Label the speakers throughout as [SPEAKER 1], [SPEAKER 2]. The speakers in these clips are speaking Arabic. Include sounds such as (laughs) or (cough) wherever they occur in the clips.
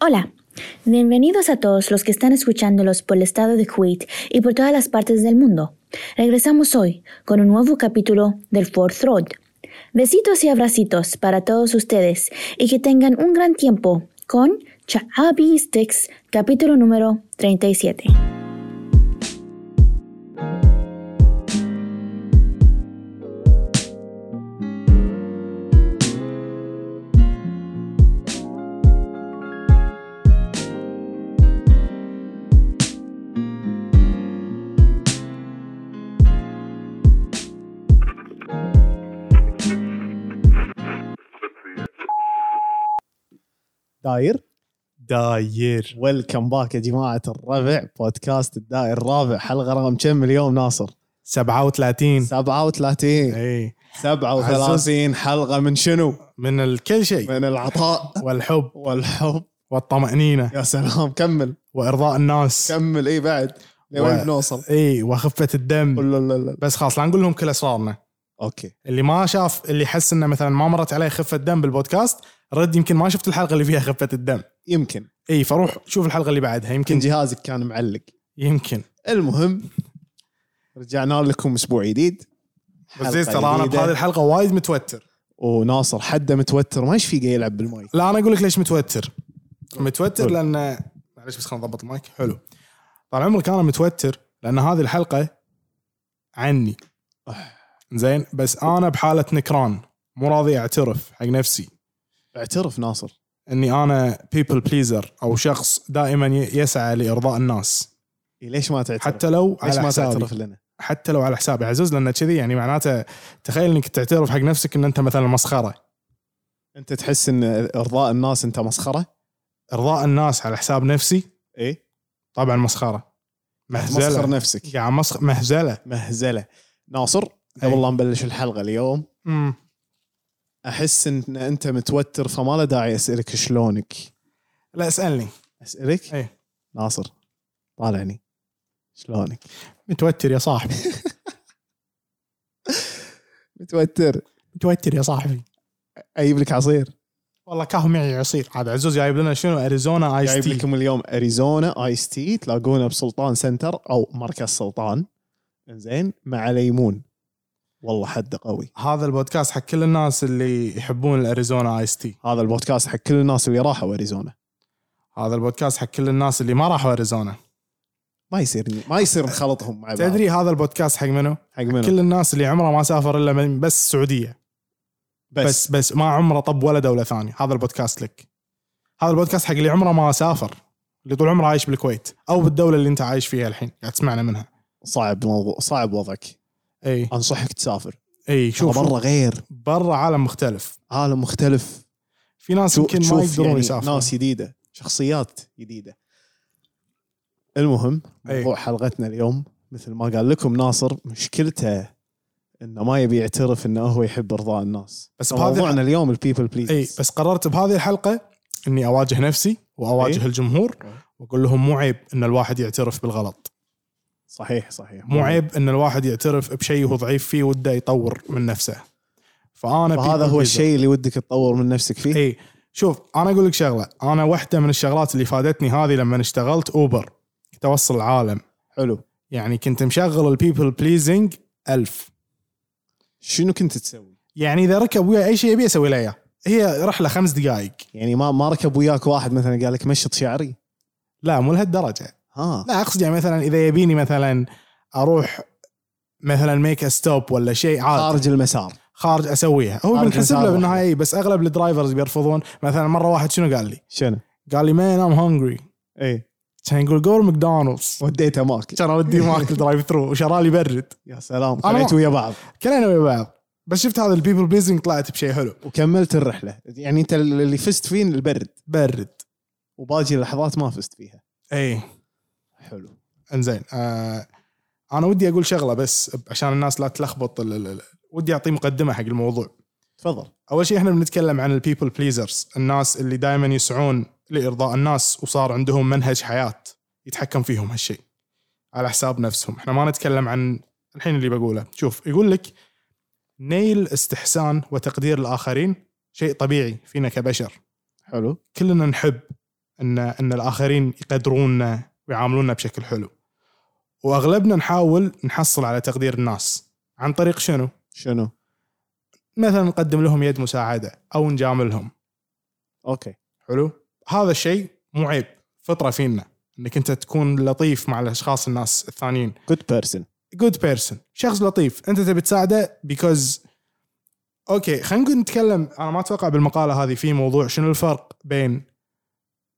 [SPEAKER 1] Hola, bienvenidos a todos los que están escuchándolos por el estado de Kuwait y por todas las partes del mundo. Regresamos hoy con un nuevo capítulo del Fourth Road. Besitos y abracitos para todos ustedes y que tengan un gran tiempo con Chaabi Sticks, capítulo número 37.
[SPEAKER 2] داير
[SPEAKER 3] داير
[SPEAKER 2] ويلكم باك يا جماعه الربع بودكاست الدائر الرابع حلقه رقم كم اليوم ناصر
[SPEAKER 3] 37
[SPEAKER 2] 37
[SPEAKER 3] اي
[SPEAKER 2] 37 حلقه من شنو
[SPEAKER 3] إيه. من ال- كل شيء
[SPEAKER 2] من العطاء
[SPEAKER 3] والحب
[SPEAKER 2] والحب
[SPEAKER 3] والطمأنينة
[SPEAKER 2] يا سلام كمل
[SPEAKER 3] وإرضاء الناس
[SPEAKER 2] كمل اي بعد لوين
[SPEAKER 3] و-
[SPEAKER 2] بنوصل
[SPEAKER 3] اي وخفة الدم
[SPEAKER 2] لا لا لا
[SPEAKER 3] بس خلاص لا نقول لهم كل أسرارنا
[SPEAKER 2] اوكي
[SPEAKER 3] اللي ما شاف اللي حس انه مثلا ما مرت عليه خفة دم بالبودكاست رد يمكن ما شفت الحلقة اللي فيها خفة الدم
[SPEAKER 2] يمكن
[SPEAKER 3] اي فروح شوف الحلقة اللي بعدها
[SPEAKER 2] يمكن
[SPEAKER 3] يمكن
[SPEAKER 2] جهازك كان معلق
[SPEAKER 3] يمكن
[SPEAKER 2] المهم رجعنا لكم اسبوع جديد
[SPEAKER 3] بس
[SPEAKER 2] حلقة
[SPEAKER 3] زين ترى انا
[SPEAKER 2] جديدة.
[SPEAKER 3] بهذه الحلقة وايد متوتر
[SPEAKER 2] وناصر حده متوتر ما ايش فيه قاعد يلعب بالماي
[SPEAKER 3] لا انا اقول لك ليش متوتر متوتر
[SPEAKER 2] قول.
[SPEAKER 3] لان معلش بس خلينا نضبط المايك حلو طال عمرك انا متوتر لان هذه الحلقه عني زين بس انا بحاله نكران مو راضي اعترف حق نفسي
[SPEAKER 2] اعترف ناصر
[SPEAKER 3] اني انا بيبل بليزر او شخص دائما ي- يسعى لارضاء الناس
[SPEAKER 2] إيه، ليش ما تعترف
[SPEAKER 3] حتى لو
[SPEAKER 2] ليش
[SPEAKER 3] على
[SPEAKER 2] ما
[SPEAKER 3] حسابي
[SPEAKER 2] تعترف لنا
[SPEAKER 3] حتى لو على حسابي عزوز لان كذي يعني معناته تخيل انك تعترف حق نفسك ان انت مثلا مسخره
[SPEAKER 2] انت تحس ان ارضاء الناس انت مسخره؟
[SPEAKER 3] ارضاء الناس على حساب نفسي
[SPEAKER 2] ايه
[SPEAKER 3] طبعا مسخره
[SPEAKER 2] مسخر
[SPEAKER 3] مهزله
[SPEAKER 2] نفسك
[SPEAKER 3] يعني مسخ مهزله
[SPEAKER 2] مهزله ناصر قبل
[SPEAKER 3] إيه.
[SPEAKER 2] لا نبلش الحلقه اليوم
[SPEAKER 3] امم
[SPEAKER 2] احس ان انت متوتر فما له داعي اسالك شلونك
[SPEAKER 3] لا اسالني
[SPEAKER 2] اسالك
[SPEAKER 3] إيه.
[SPEAKER 2] ناصر طالعني شلونك
[SPEAKER 3] متوتر يا صاحبي
[SPEAKER 2] متوتر
[SPEAKER 3] متوتر يا صاحبي
[SPEAKER 2] اجيب لك عصير
[SPEAKER 3] والله كاهو معي عصير عاد عزوز جايب لنا شنو اريزونا ايس
[SPEAKER 2] جايب
[SPEAKER 3] تي
[SPEAKER 2] لكم اليوم اريزونا ايس تي تلاقونه بسلطان سنتر او مركز سلطان زين مع ليمون والله حده قوي
[SPEAKER 3] هذا البودكاست حق كل الناس اللي يحبون الاريزونا ايس تي
[SPEAKER 2] هذا البودكاست حق كل الناس اللي راحوا اريزونا
[SPEAKER 3] هذا البودكاست حق كل الناس اللي ما راحوا اريزونا
[SPEAKER 2] ما يصير ما يصير نخلطهم مع بعض
[SPEAKER 3] تدري هذا البودكاست حق منو؟
[SPEAKER 2] حق منو
[SPEAKER 3] كل الناس اللي عمره ما سافر الا من بس السعوديه
[SPEAKER 2] بس, بس
[SPEAKER 3] بس بس ما عمره طب ولا دوله ثانيه هذا البودكاست لك هذا البودكاست حق اللي عمره ما سافر اللي طول عمره عايش بالكويت او بالدوله اللي انت عايش فيها الحين قاعد تسمعنا منها
[SPEAKER 2] صعب موضوع صعب وضعك
[SPEAKER 3] اي
[SPEAKER 2] انصحك تسافر
[SPEAKER 3] اي شوف
[SPEAKER 2] برا غير
[SPEAKER 3] برا عالم مختلف
[SPEAKER 2] عالم مختلف
[SPEAKER 3] في ناس
[SPEAKER 2] شو-
[SPEAKER 3] يمكن ما يقدرون
[SPEAKER 2] يعني
[SPEAKER 3] يسافرون
[SPEAKER 2] ناس جديده شخصيات جديده المهم
[SPEAKER 3] أي.
[SPEAKER 2] موضوع حلقتنا اليوم مثل ما قال لكم ناصر مشكلته انه ما يبي يعترف انه هو يحب ارضاء الناس
[SPEAKER 3] بس بهذه-
[SPEAKER 2] موضوعنا اليوم البيبل بليز
[SPEAKER 3] اي بس قررت بهذه الحلقه اني اواجه نفسي واواجه
[SPEAKER 2] أي.
[SPEAKER 3] الجمهور واقول لهم مو عيب ان الواحد يعترف بالغلط
[SPEAKER 2] صحيح صحيح
[SPEAKER 3] مو عيب ان الواحد يعترف بشيء هو ضعيف فيه وده يطور من نفسه فانا
[SPEAKER 2] فهذا
[SPEAKER 3] people
[SPEAKER 2] هو
[SPEAKER 3] pleaser.
[SPEAKER 2] الشيء اللي ودك تطور من نفسك فيه
[SPEAKER 3] اي شوف انا اقول لك شغله انا واحده من الشغلات اللي فادتني هذه لما اشتغلت اوبر كنت اوصل العالم
[SPEAKER 2] حلو
[SPEAKER 3] يعني كنت مشغل البيبل بليزنج ألف
[SPEAKER 2] شنو كنت تسوي
[SPEAKER 3] يعني اذا ركب وياي اي شيء يبي اسوي له اياه هي رحله خمس دقائق
[SPEAKER 2] يعني ما ما ركب وياك واحد مثلا قال لك مشط شعري
[SPEAKER 3] لا مو لهالدرجه
[SPEAKER 2] ها
[SPEAKER 3] لا اقصد يعني مثلا اذا يبيني مثلا اروح مثلا ميك ستوب ولا شيء عادي
[SPEAKER 2] خارج المسار
[SPEAKER 3] خارج اسويها هو
[SPEAKER 2] خارج
[SPEAKER 3] بنحسب له
[SPEAKER 2] مسار
[SPEAKER 3] بالنهايه اي بس اغلب الدرايفرز بيرفضون مثلا مره واحد شنو قال لي؟
[SPEAKER 2] شنو؟
[SPEAKER 3] قال لي مان ام هونجري
[SPEAKER 2] ايه
[SPEAKER 3] كان يقول جو ماكدونالدز
[SPEAKER 2] وديته ماك
[SPEAKER 3] كان اوديه
[SPEAKER 2] (laughs)
[SPEAKER 3] ماكل درايف ثرو وشرى لي برد
[SPEAKER 2] يا سلام
[SPEAKER 3] أنا-
[SPEAKER 2] طلعت ويا بعض
[SPEAKER 3] كنا أنا ويا بعض بس شفت هذا البيبل بليزنج طلعت بشيء حلو
[SPEAKER 2] وكملت الرحله يعني انت اللي فزت فيه البرد
[SPEAKER 3] برد
[SPEAKER 2] وباقي اللحظات ما فزت فيها
[SPEAKER 3] اي
[SPEAKER 2] حلو
[SPEAKER 3] انزين آه انا ودي اقول شغله بس عشان الناس لا تلخبط ال- ال- ال- ودي اعطي مقدمه حق الموضوع
[SPEAKER 2] تفضل
[SPEAKER 3] اول شيء احنا بنتكلم عن البيبل بليزرز الناس اللي دائما يسعون لارضاء الناس وصار عندهم منهج حياه يتحكم فيهم هالشيء على حساب نفسهم احنا ما نتكلم عن الحين اللي بقوله شوف يقول لك نيل استحسان وتقدير الاخرين شيء طبيعي فينا كبشر
[SPEAKER 2] حلو
[SPEAKER 3] كلنا نحب ان ان الاخرين يقدروننا ويعاملونا بشكل حلو واغلبنا نحاول نحصل على تقدير الناس عن طريق شنو؟
[SPEAKER 2] شنو؟
[SPEAKER 3] مثلا نقدم لهم يد مساعده او نجاملهم
[SPEAKER 2] اوكي
[SPEAKER 3] حلو؟ هذا الشيء مو عيب فطره فينا انك انت تكون لطيف مع الاشخاص الناس الثانيين
[SPEAKER 2] جود بيرسون
[SPEAKER 3] جود بيرسون شخص لطيف انت تبي تساعده بيكوز اوكي خلينا نقول نتكلم انا ما اتوقع بالمقاله هذه في موضوع شنو الفرق بين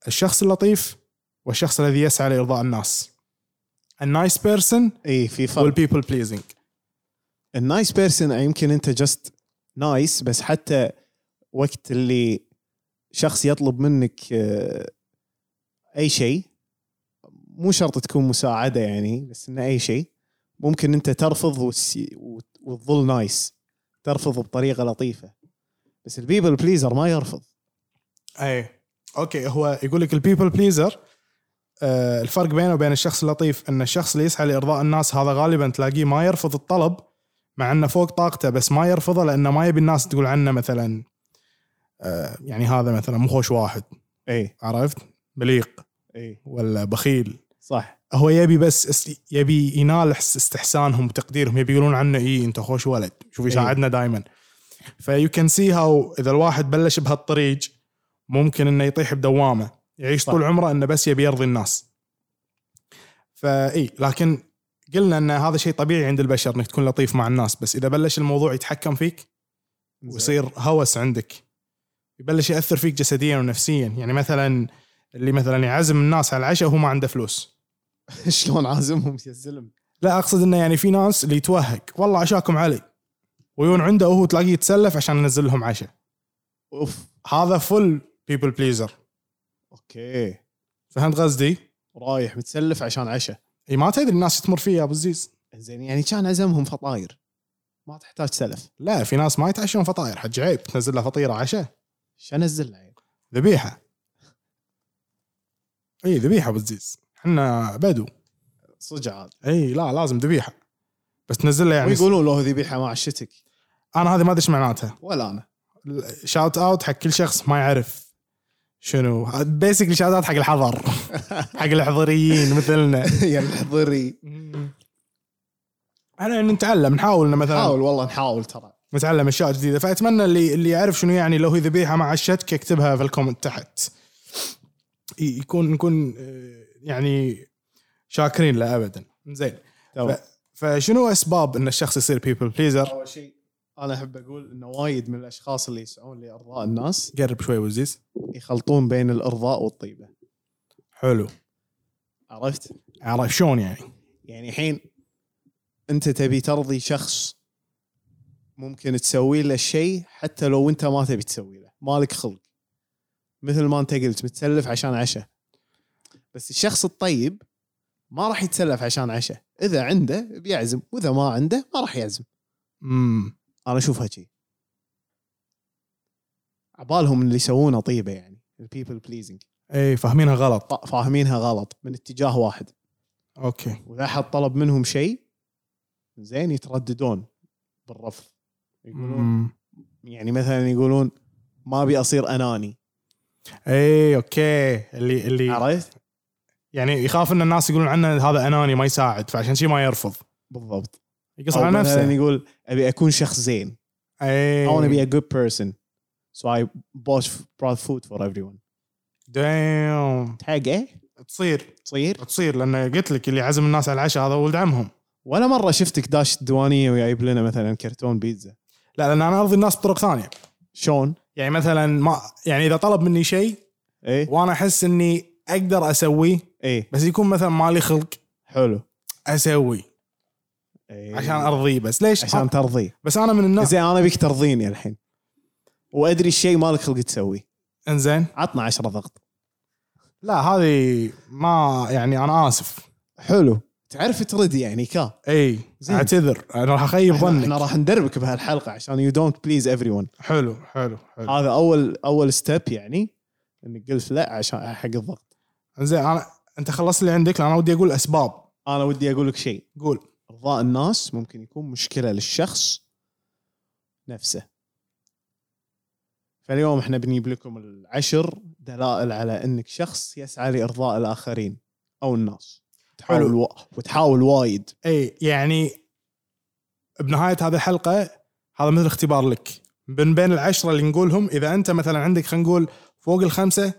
[SPEAKER 3] الشخص اللطيف والشخص الذي يسعى لارضاء الناس النايس بيرسون
[SPEAKER 2] اي إيه، في فرق
[SPEAKER 3] والبيبل بليزنج
[SPEAKER 2] النايس بيرسون يمكن انت جست نايس بس حتى وقت اللي شخص يطلب منك آه، اي شيء مو شرط تكون مساعده يعني بس انه اي شيء ممكن انت ترفض وس- وت- وتظل نايس ترفض بطريقه لطيفه بس البيبل بليزر ما يرفض
[SPEAKER 3] اي اوكي هو يقول لك البيبل بليزر الفرق بينه وبين الشخص اللطيف ان الشخص اللي يسعى لارضاء الناس هذا غالبا تلاقيه ما يرفض الطلب مع انه فوق طاقته بس ما يرفضه لانه ما يبي الناس تقول عنه مثلا آه، يعني هذا مثلا مو خوش واحد
[SPEAKER 2] اي
[SPEAKER 3] عرفت بليق
[SPEAKER 2] اي
[SPEAKER 3] ولا بخيل
[SPEAKER 2] صح
[SPEAKER 3] هو يبي بس است- يبي ينال حس- استحسانهم وتقديرهم يبي يقولون عنه اي انت خوش ولد شوف يساعدنا دائما فيو كان سي هاو اذا الواحد بلش بهالطريق ممكن انه يطيح بدوامه يعيش
[SPEAKER 2] صح.
[SPEAKER 3] طول عمره انه بس يبي يرضي الناس فاي لكن قلنا ان هذا شيء طبيعي عند البشر انك تكون لطيف مع الناس بس اذا بلش الموضوع يتحكم فيك ويصير هوس عندك يبلش ياثر فيك جسديا ونفسيا يعني مثلا اللي مثلا يعزم الناس على العشاء وهو ما عنده فلوس
[SPEAKER 2] (laughs) شلون عازمهم يا زلم
[SPEAKER 3] لا اقصد انه يعني في ناس اللي يتوهق والله عشاكم علي ويون عنده وهو تلاقيه يتسلف عشان ينزل لهم عشاء
[SPEAKER 2] اوف
[SPEAKER 3] هذا فل بيبل بليزر
[SPEAKER 2] اوكي
[SPEAKER 3] فهمت قصدي؟
[SPEAKER 2] رايح متسلف عشان عشاء
[SPEAKER 3] اي ما تدري الناس تمر فيها يا ابو الزيز
[SPEAKER 2] زين يعني كان عزمهم فطاير ما تحتاج سلف
[SPEAKER 3] لا في ناس ما يتعشون فطاير حج عيب تنزل لها فطيره عشاء
[SPEAKER 2] شو انزل له يعني؟
[SPEAKER 3] ذبيحه اي ذبيحه ابو الزيز احنا بدو
[SPEAKER 2] صدق عاد
[SPEAKER 3] اي لا لازم ذبيحه بس تنزل له يعني
[SPEAKER 2] ويقولون له ذبيحه ما عشتك
[SPEAKER 3] انا هذه ما ادري ايش معناتها
[SPEAKER 2] ولا انا
[SPEAKER 3] شاوت اوت حق كل شخص ما يعرف شنو بيسكلي شاوت اوت حق
[SPEAKER 2] (laughs)
[SPEAKER 3] الحضر حق الحضريين مثلنا
[SPEAKER 2] يا (laughs) الحضري
[SPEAKER 3] احنا نتعلم نحاول إن مثلا
[SPEAKER 2] نحاول والله نحاول ترى
[SPEAKER 3] نتعلم اشياء جديده فاتمنى اللي اللي يعرف شنو يعني لو هي ذبيحه مع الشتك يكتبها في الكومنت تحت ي- يكون نكون آه، يعني شاكرين له ابدا زين
[SPEAKER 2] تمام.
[SPEAKER 3] ف- فشنو اسباب ان الشخص يصير بيبل بليزر
[SPEAKER 2] اول شيء انا احب اقول انه وايد من الاشخاص اللي يسعون لارضاء الناس
[SPEAKER 3] قرب شوي وزيز
[SPEAKER 2] يخلطون بين الارضاء والطيبه
[SPEAKER 3] حلو
[SPEAKER 2] عرفت؟
[SPEAKER 3] عرف شلون يعني
[SPEAKER 2] يعني الحين انت تبي ترضي شخص ممكن تسوي له شيء حتى لو انت ما تبي تسوي له مالك خلق مثل ما انت قلت متسلف عشان عشاء بس الشخص الطيب ما راح يتسلف عشان عشاء اذا عنده بيعزم واذا ما عنده ما راح يعزم
[SPEAKER 3] امم
[SPEAKER 2] انا اشوفها شيء عبالهم اللي يسوونه طيبه يعني البيبل بليزنج
[SPEAKER 3] اي إيه، فاهمينها غلط
[SPEAKER 2] فاهمينها غلط من اتجاه واحد
[SPEAKER 3] اوكي
[SPEAKER 2] واذا احد طلب منهم شيء زين يترددون بالرفض يقولون
[SPEAKER 3] مم.
[SPEAKER 2] يعني مثلا يقولون ما ابي اصير اناني
[SPEAKER 3] اي اوكي إيه، اللي اللي
[SPEAKER 2] عرفت؟
[SPEAKER 3] يعني يخاف ان الناس يقولون عنه هذا اناني ما يساعد فعشان شي ما يرفض
[SPEAKER 2] بالضبط
[SPEAKER 3] يقص
[SPEAKER 2] أو
[SPEAKER 3] على
[SPEAKER 2] مثلا
[SPEAKER 3] نفسه إيه.
[SPEAKER 2] يقول ابي اكون شخص زين
[SPEAKER 3] اي
[SPEAKER 2] I want to be a good person so I bought brought food for everyone
[SPEAKER 3] دايم
[SPEAKER 2] حق ايه
[SPEAKER 3] تصير
[SPEAKER 2] تصير
[SPEAKER 3] تصير لان قلت لك اللي عزم الناس على العشاء هذا ولد عمهم
[SPEAKER 2] ولا مره شفتك داش الديوانيه وجايب لنا مثلا كرتون بيتزا
[SPEAKER 3] لا لان انا ارضي الناس بطرق ثانيه
[SPEAKER 2] شلون؟
[SPEAKER 3] يعني مثلا ما يعني اذا طلب مني شيء
[SPEAKER 2] ايه
[SPEAKER 3] وانا احس اني اقدر اسويه
[SPEAKER 2] ايه
[SPEAKER 3] بس يكون مثلا مالي خلق
[SPEAKER 2] حلو
[SPEAKER 3] اسوي
[SPEAKER 2] إيه.
[SPEAKER 3] عشان ارضيه بس ليش؟
[SPEAKER 2] عشان ترضيه
[SPEAKER 3] بس انا من الناس
[SPEAKER 2] زين انا بيك ترضيني الحين وادري الشيء مالك خلق تسويه
[SPEAKER 3] انزين
[SPEAKER 2] عطنا 10 ضغط
[SPEAKER 3] لا هذه ما يعني انا اسف
[SPEAKER 2] حلو تعرف ترد يعني كا
[SPEAKER 3] اي
[SPEAKER 2] زين.
[SPEAKER 3] اعتذر انا إيه، راح اخيب
[SPEAKER 2] احنا, احنا
[SPEAKER 3] ظنك
[SPEAKER 2] راح ندربك بهالحلقه عشان يو دونت بليز ايفري ون
[SPEAKER 3] حلو حلو حلو
[SPEAKER 2] هذا اول اول ستيب يعني انك قلت لا عشان حق الضغط
[SPEAKER 3] زين انا انت خلصت اللي عندك لان انا ودي اقول اسباب
[SPEAKER 2] انا ودي اقول لك شيء
[SPEAKER 3] قول
[SPEAKER 2] ارضاء الناس ممكن يكون مشكله للشخص نفسه فاليوم احنا بنجيب لكم العشر دلائل على انك شخص يسعى لارضاء الاخرين او الناس تحاول و... وتحاول وايد
[SPEAKER 3] اي يعني بنهايه هذه الحلقه هذا مثل اختبار لك من بين العشره اللي نقولهم اذا انت مثلا عندك خلينا نقول فوق الخمسه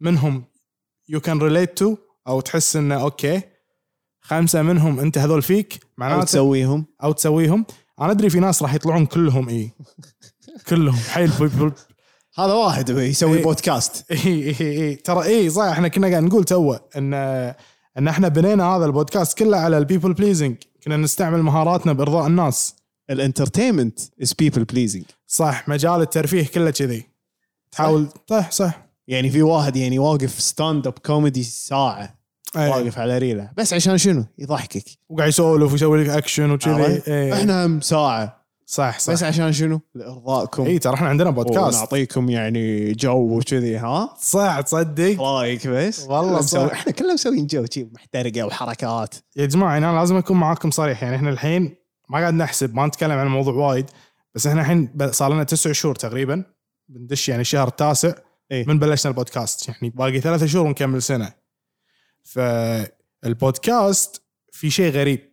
[SPEAKER 3] منهم يو كان ريليت تو او تحس انه اوكي خمسه منهم انت هذول فيك
[SPEAKER 2] او
[SPEAKER 3] معناته
[SPEAKER 2] تسويهم
[SPEAKER 3] او تسويهم انا ادري في ناس راح يطلعون كلهم اي كلهم حيل بيبل
[SPEAKER 2] هذا واحد يسوي
[SPEAKER 3] إيه.
[SPEAKER 2] بودكاست
[SPEAKER 3] اي اي اي ترى اي صح احنا كنا قاعد نقول توه ان ان احنا بنينا هذا البودكاست كله على البيبل بليزنج كنا نستعمل مهاراتنا بارضاء الناس
[SPEAKER 2] الانترتينمنت از بيبل بليزنج
[SPEAKER 3] صح مجال الترفيه كله كذي تحاول صح صح
[SPEAKER 2] يعني في واحد يعني واقف ستاند اب كوميدي ساعه
[SPEAKER 3] أي.
[SPEAKER 2] واقف على ريله بس عشان شنو يضحكك
[SPEAKER 3] وقاعد يسولف ويسوي لك اكشن وكذي
[SPEAKER 2] عرفت؟
[SPEAKER 3] إيه.
[SPEAKER 2] احنا هم ساعه
[SPEAKER 3] صح صح إيه،
[SPEAKER 2] بس عشان شنو لارضائكم
[SPEAKER 3] اي ترى احنا عندنا بودكاست
[SPEAKER 2] ونعطيكم يعني جو وكذي ها
[SPEAKER 3] صح تصدق
[SPEAKER 2] رايك بس
[SPEAKER 3] والله
[SPEAKER 2] كلنا
[SPEAKER 3] صح.
[SPEAKER 2] مسوي- احنا كلنا مسويين جو شي محترقه وحركات
[SPEAKER 3] يا جماعه يعني انا لازم اكون معاكم صريح يعني احنا الحين ما قاعد نحسب ما نتكلم عن الموضوع وايد بس احنا الحين ب- صار لنا تسع شهور تقريبا بندش يعني الشهر التاسع
[SPEAKER 2] إيه.
[SPEAKER 3] من بلشنا البودكاست يعني باقي ثلاثة شهور ونكمل سنه فالبودكاست في شيء غريب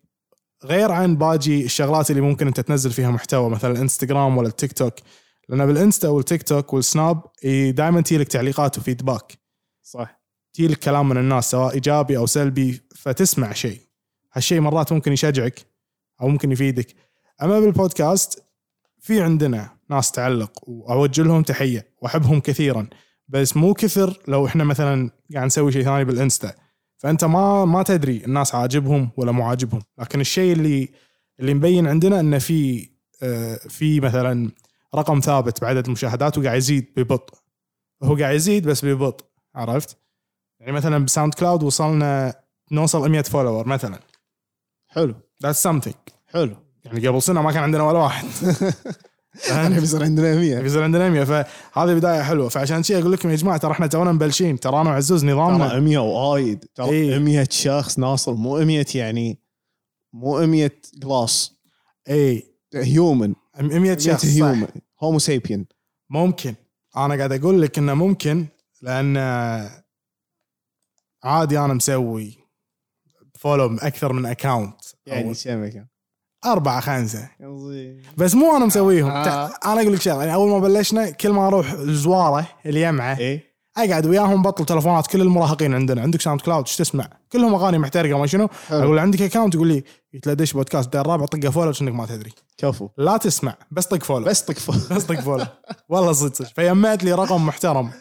[SPEAKER 3] غير عن باجي الشغلات اللي ممكن انت تنزل فيها محتوى مثلا الانستغرام ولا التيك توك لان بالانستا والتيك توك والسناب دائما تجيلك تعليقات وفيدباك
[SPEAKER 2] صح
[SPEAKER 3] تجي لك كلام من الناس سواء ايجابي او سلبي فتسمع شيء هالشيء مرات ممكن يشجعك او ممكن يفيدك اما بالبودكاست في عندنا ناس تعلق واوجه لهم تحيه واحبهم كثيرا بس مو كثر لو احنا مثلا قاعد نسوي شيء ثاني بالانستا فانت ما ما تدري الناس عاجبهم ولا مو عاجبهم لكن الشيء اللي اللي مبين عندنا انه في آه، في مثلا رقم ثابت بعدد المشاهدات وقاعد يزيد ببطء هو قاعد يزيد بس ببطء عرفت يعني مثلا بساوند كلاود وصلنا نوصل 100 فولور مثلا
[SPEAKER 2] حلو
[SPEAKER 3] ذاتس something
[SPEAKER 2] حلو
[SPEAKER 3] يعني قبل سنه ما كان عندنا ولا
[SPEAKER 2] (laughs)
[SPEAKER 3] واحد
[SPEAKER 2] احنا بيصير عندنا 100
[SPEAKER 3] يصير عندنا 100 فهذه بدايه حلوه فعشان شي اقول لكم يا جماعه ترى احنا تونا مبلشين ترى انا وعزوز نظامنا
[SPEAKER 2] ترى 100 وايد
[SPEAKER 3] إيه.
[SPEAKER 2] ترى 100 شخص ناصر مو 100 يعني مو 100 جلاس
[SPEAKER 3] اي
[SPEAKER 2] هيومن
[SPEAKER 3] 100
[SPEAKER 2] 100
[SPEAKER 3] شخص صح.
[SPEAKER 2] هيومن هومو سيبين
[SPEAKER 3] ممكن انا قاعد اقول لك انه ممكن لان عادي انا مسوي فولو اكثر من اكاونت
[SPEAKER 2] يعني كم كان؟
[SPEAKER 3] اربعه خمسه بس مو انا مسويهم
[SPEAKER 2] آه.
[SPEAKER 3] تع- انا اقول لك شغله يعني اول ما بلشنا كل ما اروح الزواره اليمعه
[SPEAKER 2] ايه
[SPEAKER 3] اقعد وياهم بطل تلفونات كل المراهقين عندنا عندك ساوند كلاود ايش تسمع؟ كلهم اغاني محترقه ما شنو اقول له عندك اكونت يقول لي قلت له دش بودكاست دير الرابع طقه فولو كأنك ما تدري
[SPEAKER 2] كفو
[SPEAKER 3] لا تسمع بس طق فولو
[SPEAKER 2] بس (laughs) طق فوق.
[SPEAKER 3] (laughs) بس طق فولو والله صدق صدق فيمعت لي رقم محترم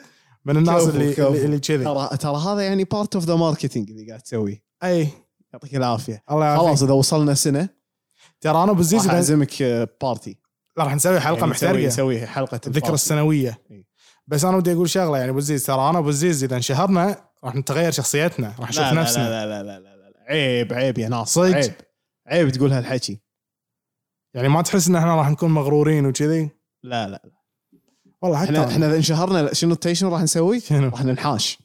[SPEAKER 3] من الناس
[SPEAKER 2] كفو،
[SPEAKER 3] اللي
[SPEAKER 2] كفو.
[SPEAKER 3] اللي- اللي كذي
[SPEAKER 2] ترى ترى هذا يعني بارت اوف ذا ماركتينج اللي قاعد تسويه
[SPEAKER 3] اي
[SPEAKER 2] يعطيك العافيه
[SPEAKER 3] الله يعافيك
[SPEAKER 2] خلاص اذا وصلنا سنه
[SPEAKER 3] ترى انا
[SPEAKER 2] راح
[SPEAKER 3] بالزيزو
[SPEAKER 2] اعزمك آه، بارتي
[SPEAKER 3] راح نسوي حلقه
[SPEAKER 2] يعني نسوي-
[SPEAKER 3] محترقه
[SPEAKER 2] نسوي حلقه
[SPEAKER 3] الذكرى
[SPEAKER 2] البارتي.
[SPEAKER 3] السنويه
[SPEAKER 2] إي.
[SPEAKER 3] بس انا ودي اقول شغله يعني ابو الزيز ترى انا ابو الزيز اذا انشهرنا راح نتغير شخصيتنا راح نشوف
[SPEAKER 2] لا لا,
[SPEAKER 3] نفسنا
[SPEAKER 2] لا لا لا لا لا لا عيب عيب يا ناصر
[SPEAKER 3] صدق.
[SPEAKER 2] عيب عيب تقول هالحكي
[SPEAKER 3] يعني ما تحس ان احنا راح نكون مغرورين وكذي
[SPEAKER 2] لا لا
[SPEAKER 3] والله حتى
[SPEAKER 2] احنا احنا اذا انشهرنا شنو التي- شنو راح نسوي؟
[SPEAKER 3] شنو؟
[SPEAKER 2] راح ننحاش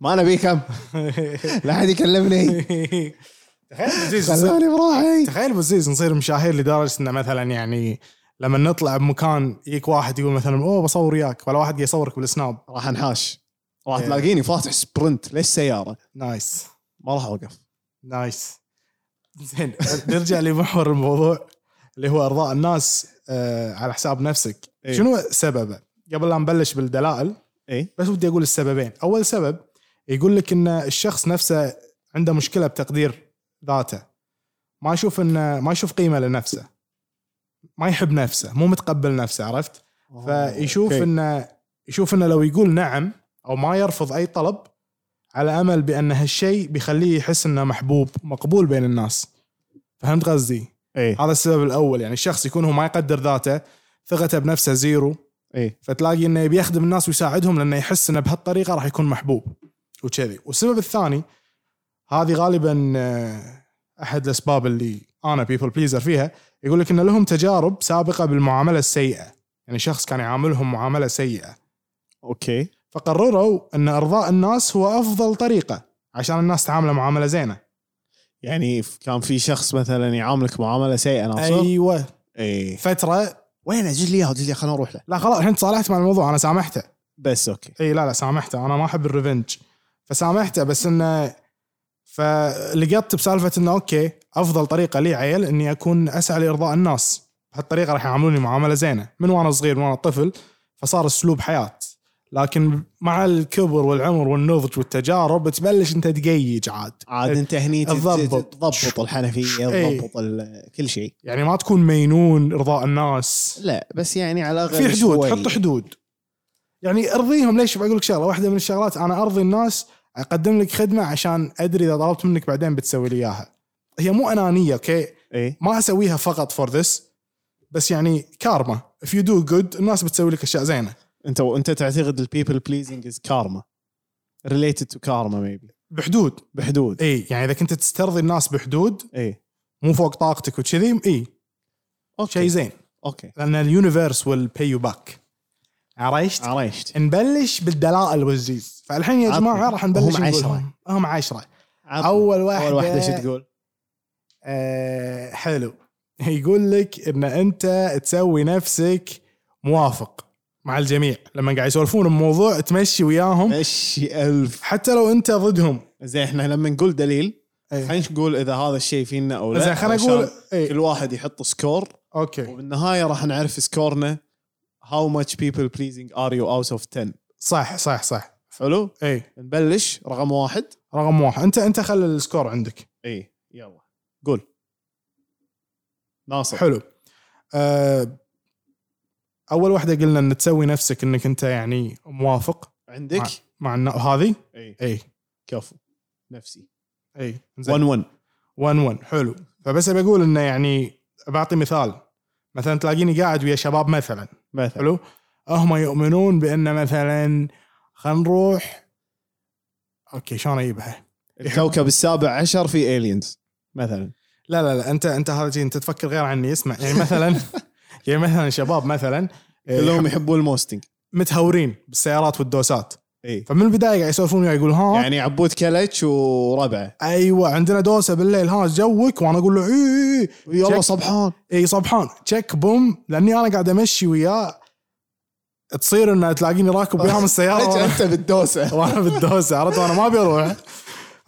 [SPEAKER 2] ما نبي كم لا احد (laughs) يكلمني
[SPEAKER 3] (laughs) تخيل أبو الزيز نصير-
[SPEAKER 2] خلوني براحي
[SPEAKER 3] تخيل أبو الزيز نصير مشاهير لدرجه انه مثلا يعني لما نطلع بمكان يجيك واحد يقول مثلا اوه بصور وياك ولا واحد يصورك بالسناب
[SPEAKER 2] راح انحاش راح
[SPEAKER 3] إيه.
[SPEAKER 2] تلاقيني فاتح سبرنت ليش سياره
[SPEAKER 3] نايس
[SPEAKER 2] ما راح اوقف
[SPEAKER 3] نايس زين نرجع لمحور الموضوع اللي هو ارضاء الناس آه على حساب نفسك
[SPEAKER 2] إيه.
[SPEAKER 3] شنو سببه قبل لا نبلش بالدلائل
[SPEAKER 2] اي
[SPEAKER 3] بس ودي اقول السببين اول سبب يقول لك ان الشخص نفسه عنده مشكله بتقدير ذاته ما يشوف انه ما يشوف قيمه لنفسه ما يحب نفسه مو متقبل نفسه عرفت فيشوف
[SPEAKER 2] آه، أوكي.
[SPEAKER 3] انه يشوف انه لو يقول نعم او ما يرفض اي طلب على امل بان هالشيء بيخليه يحس انه محبوب مقبول بين الناس فهمت قصدي؟
[SPEAKER 2] اي
[SPEAKER 3] هذا السبب الاول يعني الشخص يكون هو ما يقدر ذاته ثقته بنفسه زيرو
[SPEAKER 2] اي
[SPEAKER 3] فتلاقي انه يبي يخدم الناس ويساعدهم لانه يحس انه بهالطريقه راح يكون محبوب وكذي والسبب الثاني هذه غالبا آه، احد الاسباب اللي انا بيبل بليزر فيها يقول لك ان لهم تجارب سابقه بالمعامله السيئه يعني شخص كان يعاملهم معامله سيئه
[SPEAKER 2] اوكي
[SPEAKER 3] فقرروا ان ارضاء الناس هو افضل طريقه عشان الناس تعامله معامله زينه
[SPEAKER 2] يعني ف- كان في شخص مثلا يعاملك معامله سيئه ناصر
[SPEAKER 3] ايوه
[SPEAKER 2] اي
[SPEAKER 3] فتره
[SPEAKER 2] وينه جيب لي اياه جيب لي إياه، خلنا نروح له
[SPEAKER 3] لا خلاص الحين تصالحت مع الموضوع انا سامحته
[SPEAKER 2] بس اوكي
[SPEAKER 3] اي إيه، لا لا سامحته انا ما احب الريفنج فسامحته بس انه فلقطت بسالفه انه اوكي افضل طريقه لي عيل اني اكون اسعى لارضاء الناس بهالطريقه راح يعاملوني معامله زينه من وانا صغير من وانا طفل فصار اسلوب حياه لكن مع الكبر والعمر والنضج والتجارب تبلش انت تقيج عاد
[SPEAKER 2] عاد انت هني تت-
[SPEAKER 3] تضبط.
[SPEAKER 2] تضبط الحنفيه
[SPEAKER 3] إيه.
[SPEAKER 2] تضبط ال- كل شيء
[SPEAKER 3] يعني ما تكون مينون ارضاء الناس
[SPEAKER 2] لا بس يعني على الاقل
[SPEAKER 3] في حدود
[SPEAKER 2] شوي.
[SPEAKER 3] حط حدود يعني ارضيهم ليش بقول لك شغله واحده من الشغلات انا ارضي الناس اقدم لك خدمه عشان ادري اذا طلبت منك بعدين بتسوي لي اياها هي مو انانيه اوكي
[SPEAKER 2] ايه
[SPEAKER 3] ما اسويها فقط فور ذس بس يعني كارما if you do good الناس بتسوي لك اشياء زينه
[SPEAKER 2] انت انت تعتقد البيبل بليزنج از كارما ريليتد تو كارما ميبي
[SPEAKER 3] بحدود
[SPEAKER 2] بحدود
[SPEAKER 3] اي يعني اذا كنت تسترضي الناس بحدود
[SPEAKER 2] ايه
[SPEAKER 3] مو فوق طاقتك وكذي اي
[SPEAKER 2] اوكي
[SPEAKER 3] شيء زين
[SPEAKER 2] اوكي
[SPEAKER 3] لان اليونيفيرس ويل باي يو باك عرفت؟
[SPEAKER 2] عرفت
[SPEAKER 3] نبلش بالدلائل والزيز فالحين يا جماعه
[SPEAKER 2] عطني.
[SPEAKER 3] راح نبلش
[SPEAKER 2] هم
[SPEAKER 3] نقول
[SPEAKER 2] عشرة.
[SPEAKER 3] هم- هم عشرة
[SPEAKER 2] عطني.
[SPEAKER 3] اول واحده
[SPEAKER 2] اول واحده شو تقول؟
[SPEAKER 3] آه حلو يقول لك ان انت تسوي نفسك موافق مع الجميع لما قاعد يسولفون بموضوع تمشي وياهم
[SPEAKER 2] مشي ألف
[SPEAKER 3] حتى لو انت ضدهم
[SPEAKER 2] زين احنا لما نقول دليل
[SPEAKER 3] إيه.
[SPEAKER 2] خلينا نقول اذا هذا الشيء فينا او لا
[SPEAKER 3] زين خلينا
[SPEAKER 2] علشان
[SPEAKER 3] نقول إيه.
[SPEAKER 2] كل واحد يحط سكور
[SPEAKER 3] اوكي
[SPEAKER 2] وبالنهايه راح نعرف سكورنا how much people pleasing are you out of 10
[SPEAKER 3] صح صح صح
[SPEAKER 2] حلو
[SPEAKER 3] اي
[SPEAKER 2] نبلش رقم واحد
[SPEAKER 3] رقم واحد انت انت خلي السكور عندك
[SPEAKER 2] اي يلا قول ناصر
[SPEAKER 3] حلو آه اول واحده قلنا ان تسوي نفسك انك انت يعني موافق
[SPEAKER 2] عندك
[SPEAKER 3] مع- مع النا- هذه
[SPEAKER 2] اي
[SPEAKER 3] اي
[SPEAKER 2] كفو نفسي
[SPEAKER 3] اي
[SPEAKER 2] 1 1
[SPEAKER 3] 1 1 حلو فبس ابي اقول انه يعني بعطي مثال مثلا تلاقيني قاعد ويا شباب مثلا
[SPEAKER 2] مثلا
[SPEAKER 3] حلو هم يؤمنون بان مثلا خلينا نروح اوكي شلون اجيبها؟
[SPEAKER 2] الكوكب السابع عشر في الينز مثلا
[SPEAKER 3] لا لا لا انت انت هذا شيء انت تفكر غير عني اسمع يعني مثلا يعني مثلا شباب مثلا إيه،
[SPEAKER 2] كلهم يحبون الموستنج
[SPEAKER 3] متهورين بالسيارات والدوسات
[SPEAKER 2] اي
[SPEAKER 3] فمن البدايه قاعد يسولفون وياي يقول ها
[SPEAKER 2] إيه. يعني عبود كلتش وربعه
[SPEAKER 3] ايوه عندنا دوسه بالليل ها جوك وانا اقول له إيه، اي اي اي
[SPEAKER 2] يلا
[SPEAKER 3] شك-
[SPEAKER 2] صبحان
[SPEAKER 3] اي صبحان تشيك بوم لاني انا قاعد امشي وياه تصير انه تلاقيني راكب وياهم السياره
[SPEAKER 2] فجاه (laughs)
[SPEAKER 3] وأنا- (laughs)
[SPEAKER 2] انت بالدوسه
[SPEAKER 3] وانا بالدوسه عرفت وانا ما ابي اروح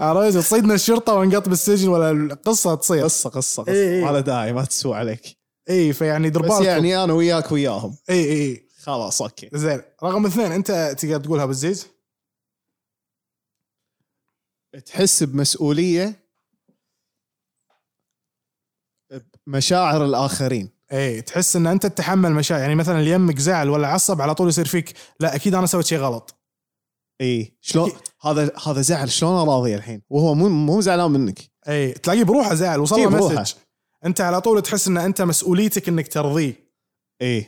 [SPEAKER 3] عرفت تصيدنا الشرطه ونقط بالسجن ولا القصه تصير
[SPEAKER 2] قصه قصه
[SPEAKER 3] إي، إي.
[SPEAKER 2] قصه ما له داعي ما تسوى عليك
[SPEAKER 3] اي فيعني دير
[SPEAKER 2] بس
[SPEAKER 3] بالكم اي
[SPEAKER 2] يعني انا وياك وياهم
[SPEAKER 3] اي
[SPEAKER 2] خلاص اوكي
[SPEAKER 3] زين رقم اثنين انت تقدر تقولها بالزيز
[SPEAKER 2] تحس بمسؤوليه مشاعر الاخرين
[SPEAKER 3] اي تحس ان انت تتحمل مشاعر يعني مثلا اللي يمك زعل ولا عصب على طول يصير فيك لا اكيد انا سويت شيء غلط
[SPEAKER 2] اي شلون هذا هذا زعل شلون اراضي الحين وهو مو مو زعلان منك
[SPEAKER 3] اي تلاقيه بروحه زعل وصل
[SPEAKER 2] إي،
[SPEAKER 3] له
[SPEAKER 2] بروحه.
[SPEAKER 3] مسج انت على طول تحس ان انت مسؤوليتك انك ترضيه
[SPEAKER 2] اي